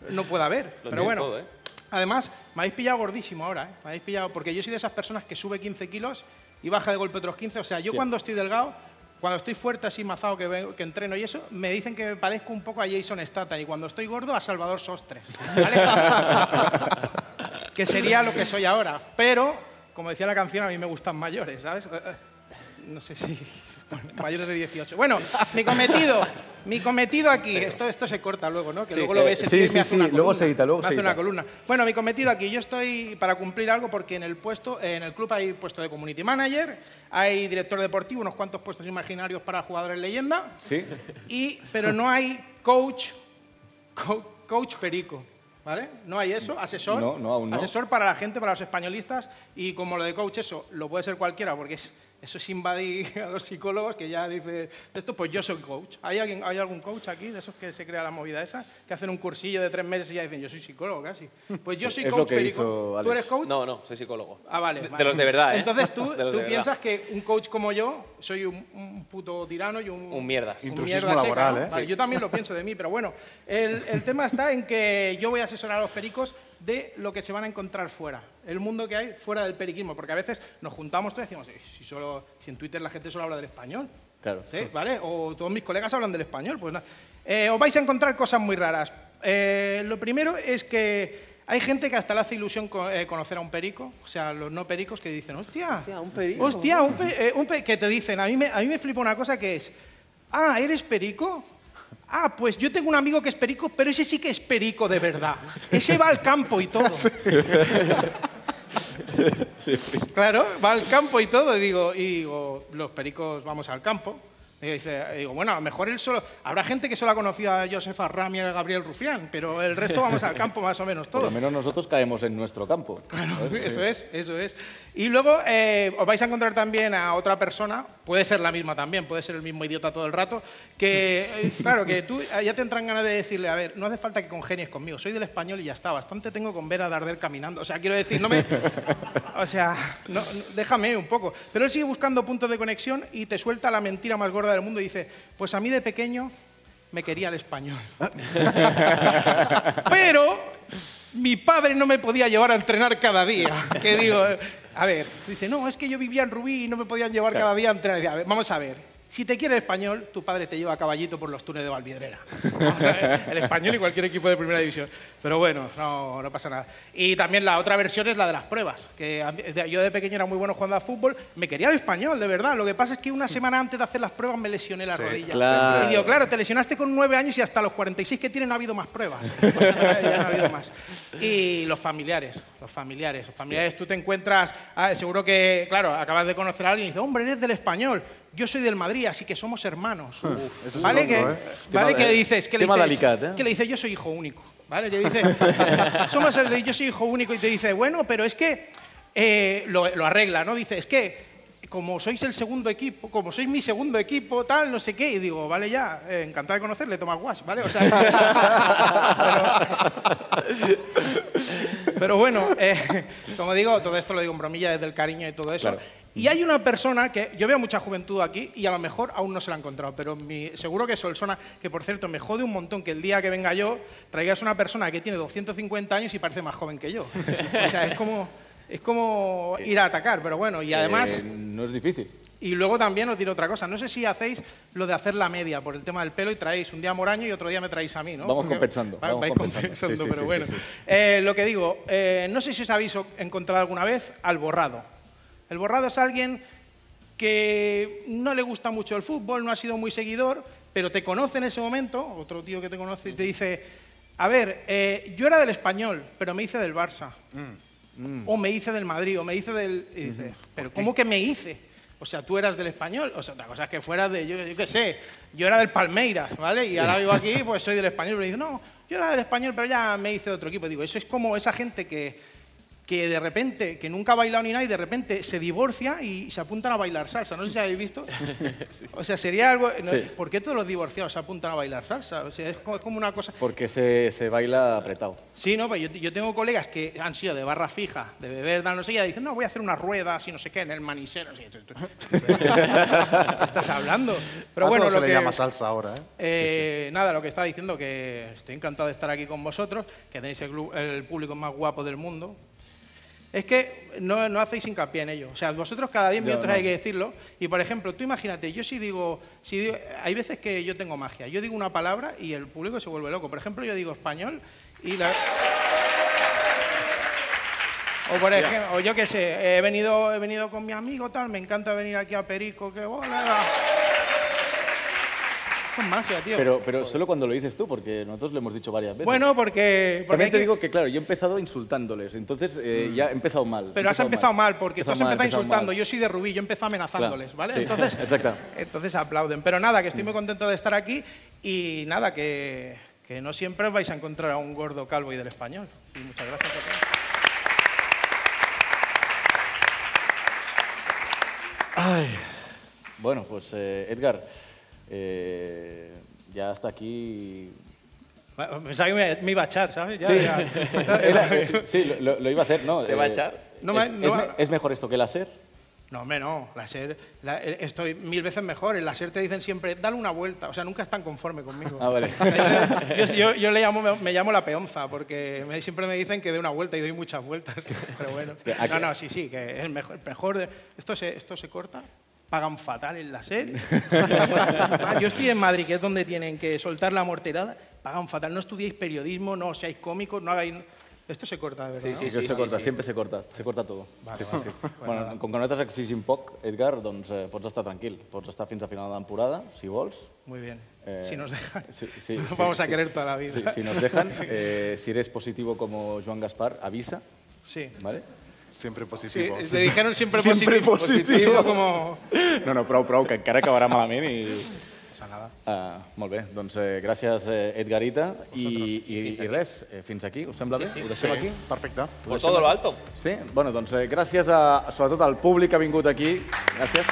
Speaker 12: no puede haber.
Speaker 4: Lo
Speaker 12: pero
Speaker 4: tienes
Speaker 12: bueno.
Speaker 4: todo, ¿eh?
Speaker 12: Además, me habéis pillado gordísimo ahora, ¿eh? Me habéis pillado, porque yo soy de esas personas que sube 15 kilos y baja de golpe otros 15. O sea, yo
Speaker 2: Hostia.
Speaker 12: cuando estoy delgado Cuando estoy fuerte, así mazado, que, vengo- que entreno y eso, me dicen que me parezco un poco a Jason Statham. Y cuando estoy gordo, a Salvador Sostres. ¿vale? que sería lo que soy ahora. Pero, como decía la canción, a mí me gustan mayores, ¿sabes? Eh, eh, No sé si... bueno, mayores de 18. Bueno, mi cometido... Mi cometido aquí, esto, esto se corta luego, ¿no? Que
Speaker 2: Sí,
Speaker 12: luego
Speaker 2: sí.
Speaker 12: lo ves en
Speaker 2: Sí,
Speaker 12: Twitter y
Speaker 2: sí,
Speaker 12: me hace
Speaker 2: sí,
Speaker 12: una
Speaker 2: luego
Speaker 12: columna.
Speaker 2: se edita, luego
Speaker 12: Me
Speaker 2: se
Speaker 12: hace
Speaker 2: edita.
Speaker 12: una columna. Bueno, mi cometido aquí, yo estoy para cumplir algo porque en el puesto, en el club hay puesto de community manager, hay director deportivo, unos cuantos puestos imaginarios para jugadores leyenda,
Speaker 2: Sí.
Speaker 12: y, pero no hay coach, co- coach perico, ¿vale? No hay eso, asesor,
Speaker 2: No, no, aún no.
Speaker 12: asesor para la gente, para los españolistas y como lo de coach eso, lo puede ser cualquiera porque es, eso es invadir a los psicólogos que ya dice esto pues yo soy coach. ¿Hay alguien, hay algún coach aquí de esos que se crea la movida esa que hacen un cursillo de tres meses y ya dicen yo soy psicólogo casi? Pues yo soy
Speaker 2: Es lo
Speaker 12: coach
Speaker 2: que
Speaker 12: perico.
Speaker 2: hizo
Speaker 12: ¿Tú
Speaker 2: Alex.
Speaker 12: eres coach?
Speaker 4: No, no, soy psicólogo.
Speaker 12: Ah, vale.
Speaker 4: De,
Speaker 12: vale.
Speaker 4: de los de verdad, ¿eh?
Speaker 12: Entonces tú,
Speaker 4: De los
Speaker 12: tú
Speaker 4: de verdad.
Speaker 12: piensas que un coach como yo soy un, un puto tirano y un...
Speaker 4: Un mierdas. Intrusismo
Speaker 12: mierda
Speaker 4: laboral,
Speaker 12: ¿no?
Speaker 4: ¿eh?
Speaker 12: Vale,
Speaker 4: Sí.
Speaker 12: Yo también lo pienso de mí, pero bueno. El, el tema está en que yo voy a asesorar a los pericos de lo que se van a encontrar fuera. El mundo que hay fuera del periquismo. Porque a veces nos juntamos todos y decimos, "Eh, si, solo, si en Twitter la gente solo habla del español.
Speaker 2: Claro.
Speaker 12: ¿Sí? ¿Vale? O todos mis colegas hablan del español. Pues nada. Eh, os vais a encontrar cosas muy raras. Eh, lo primero es que hay gente que hasta le hace ilusión co- eh, conocer a un perico, o sea, los no pericos que dicen, hostia, hostia, un perico. que te dicen, a mí, me, a mí me flipa una cosa que es, ah, ¿eres perico? Ah, pues yo tengo un amigo que es perico, pero ese sí que es perico de verdad. Ese va al campo y todo. Claro, va al campo y todo. Y digo, y digo, los pericos vamos al campo. Y dice, y digo, bueno, a lo mejor él solo. Habrá gente que solo ha conocido a Josefa Rami y a Gabriel Rufián, pero el resto vamos al campo más o menos
Speaker 2: Por
Speaker 12: todos.
Speaker 2: lo menos nosotros caemos en nuestro campo. Claro,
Speaker 12: Eso es, eso es. Y luego eh, os vais a encontrar también a otra persona, puede ser la misma también, puede ser el mismo idiota todo el rato, que eh, claro, que tú eh, ya te entran ganas de decirle, a ver, no hace falta que congenies conmigo, soy del español y ya está, bastante tengo con ver a Darder caminando. O sea, quiero decir, no me... O sea, no- no, déjame un poco. Pero él sigue buscando puntos de conexión y te suelta la mentira más gorda del mundo y dice, pues a mí de pequeño me quería el español. Pero mi padre no me podía llevar a entrenar cada día. Que digo, a ver, dice, no, es que yo vivía en Rubí y no me podían llevar cada día a entrenar. Dice, A ver, vamos a ver. Si te quiere el español, tu padre te lleva a caballito por los túneles de Valvidrera. Vamos a ver, el español y cualquier equipo de primera división. Pero bueno, no, no pasa nada. Y también la otra versión es la de las pruebas. Que a mí- de- yo de pequeño era muy bueno jugando a fútbol. Me quería el español, de verdad. Lo que pasa es que una semana antes de hacer las pruebas me lesioné la
Speaker 2: Sí,
Speaker 12: rodilla.
Speaker 2: claro.
Speaker 12: Y digo, claro, te lesionaste con nueve años y hasta los 46 que tiene no ha habido más pruebas. Ya no ha habido más. Y los familiares, los familiares, los familiares, tú te encuentras, ah, seguro que, claro, acabas de conocer a alguien y dices, hombre, eres del español, yo soy del Madrid, así que somos hermanos.
Speaker 2: ese es
Speaker 12: ¿Vale?
Speaker 2: loco,
Speaker 12: que,
Speaker 2: ¿eh?
Speaker 12: ¿vale?
Speaker 2: Tema-
Speaker 12: que le dices, que le
Speaker 2: tema
Speaker 12: dices,
Speaker 2: delicat, ¿eh?
Speaker 12: que le dices, yo soy hijo único. ¿Vale? Que dice, somos el de yo soy hijo único y te dice, bueno, pero es que eh, lo, lo arregla, ¿no? Dice, es que como sois el segundo equipo, como sois mi segundo equipo, tal, no sé qué, y digo, vale ya, eh, encantado de conocerle, Tomás Guas, ¿vale? O sea, pero, pero bueno, eh, como digo, todo esto lo digo en bromilla desde el cariño y todo eso.
Speaker 2: Claro.
Speaker 12: Y hay una persona que yo veo mucha juventud aquí y a lo mejor aún no se la ha encontrado, pero mi- seguro que Solsona, que por cierto me jode un montón que el día que venga yo traigas una persona que tiene 250 años y parece más joven que yo. o sea, es como, es como ir a atacar, pero bueno, y además...
Speaker 2: Eh, no es difícil.
Speaker 12: Y luego también os diré otra cosa. No sé si hacéis lo de hacer la media por el tema del pelo y traéis un día a Moraño y otro día me traéis a mí, ¿no?
Speaker 2: Vamos
Speaker 12: Porque-
Speaker 2: compensando,
Speaker 12: Va-
Speaker 2: vamos
Speaker 12: vais
Speaker 2: compensando.
Speaker 12: compensando,
Speaker 2: Sí, sí,
Speaker 12: pero
Speaker 2: sí,
Speaker 12: bueno.
Speaker 2: sí, sí.
Speaker 12: Eh, lo que digo, eh, no sé si os habéis o- encontrado alguna vez al borrado. El borrado es alguien que no le gusta mucho el fútbol, no ha sido muy seguidor, pero te conoce en ese momento, otro tío que te conoce y te dice, a ver, eh, yo era del español, pero me hice del Barça. O me hice del Madrid, o me hice del... Y dices, pero ¿cómo que me hice? O sea, tú eras del español, o sea, otra cosa es que fueras de, yo, yo qué sé, yo era del Palmeiras, ¿vale? Y ahora vivo aquí, pues soy del español, pero dices, no, yo era del español, pero ya me hice de otro equipo. Digo, eso es como esa gente que, que de repente, que nunca ha bailado ni nada y de repente se divorcia y se apuntan a bailar salsa, no sé si habéis visto. O sea, sería algo... no,
Speaker 2: Sí.
Speaker 12: ¿Por qué todos los divorciados se apuntan a bailar salsa? O sea, es como- es como una cosa...
Speaker 2: Porque se, se baila apretado.
Speaker 12: Sí, no, pues yo, yo tengo colegas que han sido de barra fija, de beber, tal, no sé qué, y dicen, no, voy a hacer unas ruedas y no sé qué en el manicero. no sé qué. ¿Qué estás hablando? Pero
Speaker 3: A
Speaker 12: bueno,
Speaker 3: todo
Speaker 12: lo
Speaker 3: se
Speaker 12: que-
Speaker 3: le llama salsa ahora, ¿eh?
Speaker 12: eh, nada, lo que estaba diciendo, que estoy encantado de estar aquí con vosotros, que tenéis el, glu- el público más guapo del mundo. es que no, no hacéis hincapié en ello. O sea, vosotros cada 10
Speaker 2: Ya,
Speaker 12: minutos
Speaker 2: no.
Speaker 12: hay que decirlo. Y por ejemplo, tú imagínate, yo si digo, si digo- hay veces que yo tengo magia. Yo digo una palabra y el público se vuelve loco. Por ejemplo, yo digo español y la. O por
Speaker 15: Ya.
Speaker 12: ejemplo, o yo qué sé, he venido, he venido con mi amigo tal, me encanta venir aquí a Perico, que hola. Con magia, tío.
Speaker 2: Pero, pero solo cuando lo dices tú, porque nosotros lo hemos dicho varias veces.
Speaker 12: Bueno, porque. porque
Speaker 2: También te
Speaker 12: hay que- Mm.
Speaker 2: digo que, claro, yo he empezado insultándoles, entonces eh, ya he empezado mal.
Speaker 12: Pero
Speaker 2: he
Speaker 12: has empezado mal, porque tú has
Speaker 2: mal,
Speaker 12: empezado
Speaker 2: he
Speaker 12: insultando.
Speaker 2: mal.
Speaker 12: Yo soy de Rubí, yo empezado amenazándoles,
Speaker 2: Claro,
Speaker 12: ¿vale?
Speaker 2: sí,
Speaker 12: Entonces,
Speaker 2: Exacto.
Speaker 12: entonces aplauden. Pero nada, que estoy muy contento de estar aquí y nada, que, que no siempre os vais a encontrar a un gordo calvo y del español. Y muchas gracias a todos.
Speaker 2: Ay. Bueno, pues eh, Edgar, eh, ya hasta aquí.
Speaker 12: Bueno, Pensaba que me, me iba a echar, ¿sabes? Ya,
Speaker 2: sí,
Speaker 12: ya.
Speaker 2: Era- eh, sí, lo- lo, lo iba a hacer, ¿no?
Speaker 12: ¿Te va a
Speaker 2: eh,
Speaker 12: echar? No
Speaker 2: es,
Speaker 12: me- no
Speaker 2: es
Speaker 12: me-
Speaker 2: me- es mejor esto que la SER.
Speaker 12: No, hombre, no. La SER, la- eh, estoy mil veces mejor. En la SER te dicen siempre, dale una vuelta. O sea, nunca están conforme conmigo.
Speaker 2: Ah, vale.
Speaker 12: yo, yo- yo le llamo, me, me llamo la peonza, porque me- siempre me dicen que dé una vuelta y doy muchas vueltas. Pero bueno.
Speaker 2: que aquí-
Speaker 12: No, no, sí, sí, que es mejor. mejor de- esto, se, esto se corta. Pagan fatal en la SER. yo estoy en Madrid, que es donde tienen que soltar la morterada. Pagan fatal. No estudiéis periodismo, no seáis cómicos, no hagáis... Esto se corta, de verdad. ¿no?
Speaker 2: que se corta, siempre se corta, se corta todo.
Speaker 12: Vale,
Speaker 2: sí,
Speaker 12: vale.
Speaker 2: sí, sí.
Speaker 12: Pues
Speaker 2: Bueno,
Speaker 12: nada.
Speaker 2: com que nosaltres exigim poc, Edgar, doncs eh, pots estar tranquil. Pots estar fins a final de temporada, si vols. Eh,
Speaker 12: Muy bien. Si nos dejan.
Speaker 2: Sí, sí,
Speaker 12: Nos
Speaker 2: sí,
Speaker 12: vamos a
Speaker 2: sí.
Speaker 12: querer toda la vida.
Speaker 2: Sí, si nos dejan, eh, si eres positivo como Joan Gaspar, avisa.
Speaker 12: Sí.
Speaker 2: ¿Vale?
Speaker 3: Siempre
Speaker 12: Sí,
Speaker 3: pues.
Speaker 12: le dijeron siempre positivo, positivo como-
Speaker 2: No, no, prou, prou, que encara acabarà malament i...
Speaker 12: pasa nada.
Speaker 2: Ah, molt bé, doncs eh, gràcies, eh, Edgarita. I, i, i res, eh, fins aquí, us sembla bé?
Speaker 3: Sí, sí.
Speaker 2: Ho deixem
Speaker 3: Sí,
Speaker 2: aquí?
Speaker 3: perfecte.
Speaker 2: Ho
Speaker 3: Por
Speaker 2: deixem
Speaker 3: todo lo
Speaker 2: aquí?
Speaker 3: alto.
Speaker 2: Sí? Bueno, doncs eh, gràcies a, sobretot al públic que ha vingut aquí. Gràcies.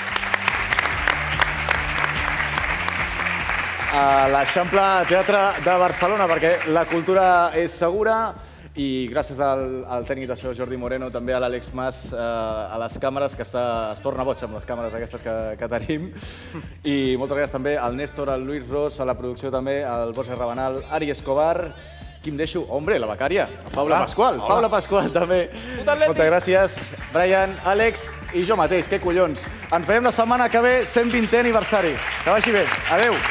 Speaker 2: A l'Eixample Teatre de Barcelona, perquè la cultura és segura. I gràcies al, al tècnic d'això, Jordi Moreno, també a l'Àlex Mas, eh, a les càmeres, que està, es torna boig amb les càmeres aquestes que, que tenim. I moltes gràcies també al Néstor, al Luis Ros, a la producció també, al Borja Rabanal, Ari Escobar, qui em deixo? Hombre, la becària, Paula
Speaker 3: Hola.
Speaker 2: Pasqual.
Speaker 3: Hola.
Speaker 2: Paula Pasqual també. Moltes gràcies, Brian, Àlex i jo mateix, que collons. Ens veiem la setmana que ve, 120è aniversari. Que vagi bé. Adeu.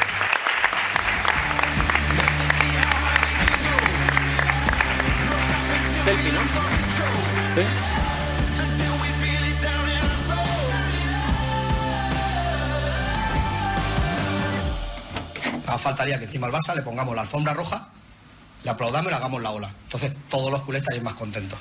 Speaker 4: Selfie, ¿no?
Speaker 16: Ah, faltaría que encima al Barça le pongamos la alfombra roja, le aplaudamos y le hagamos la ola. Entonces todos los culés estarían más contentos.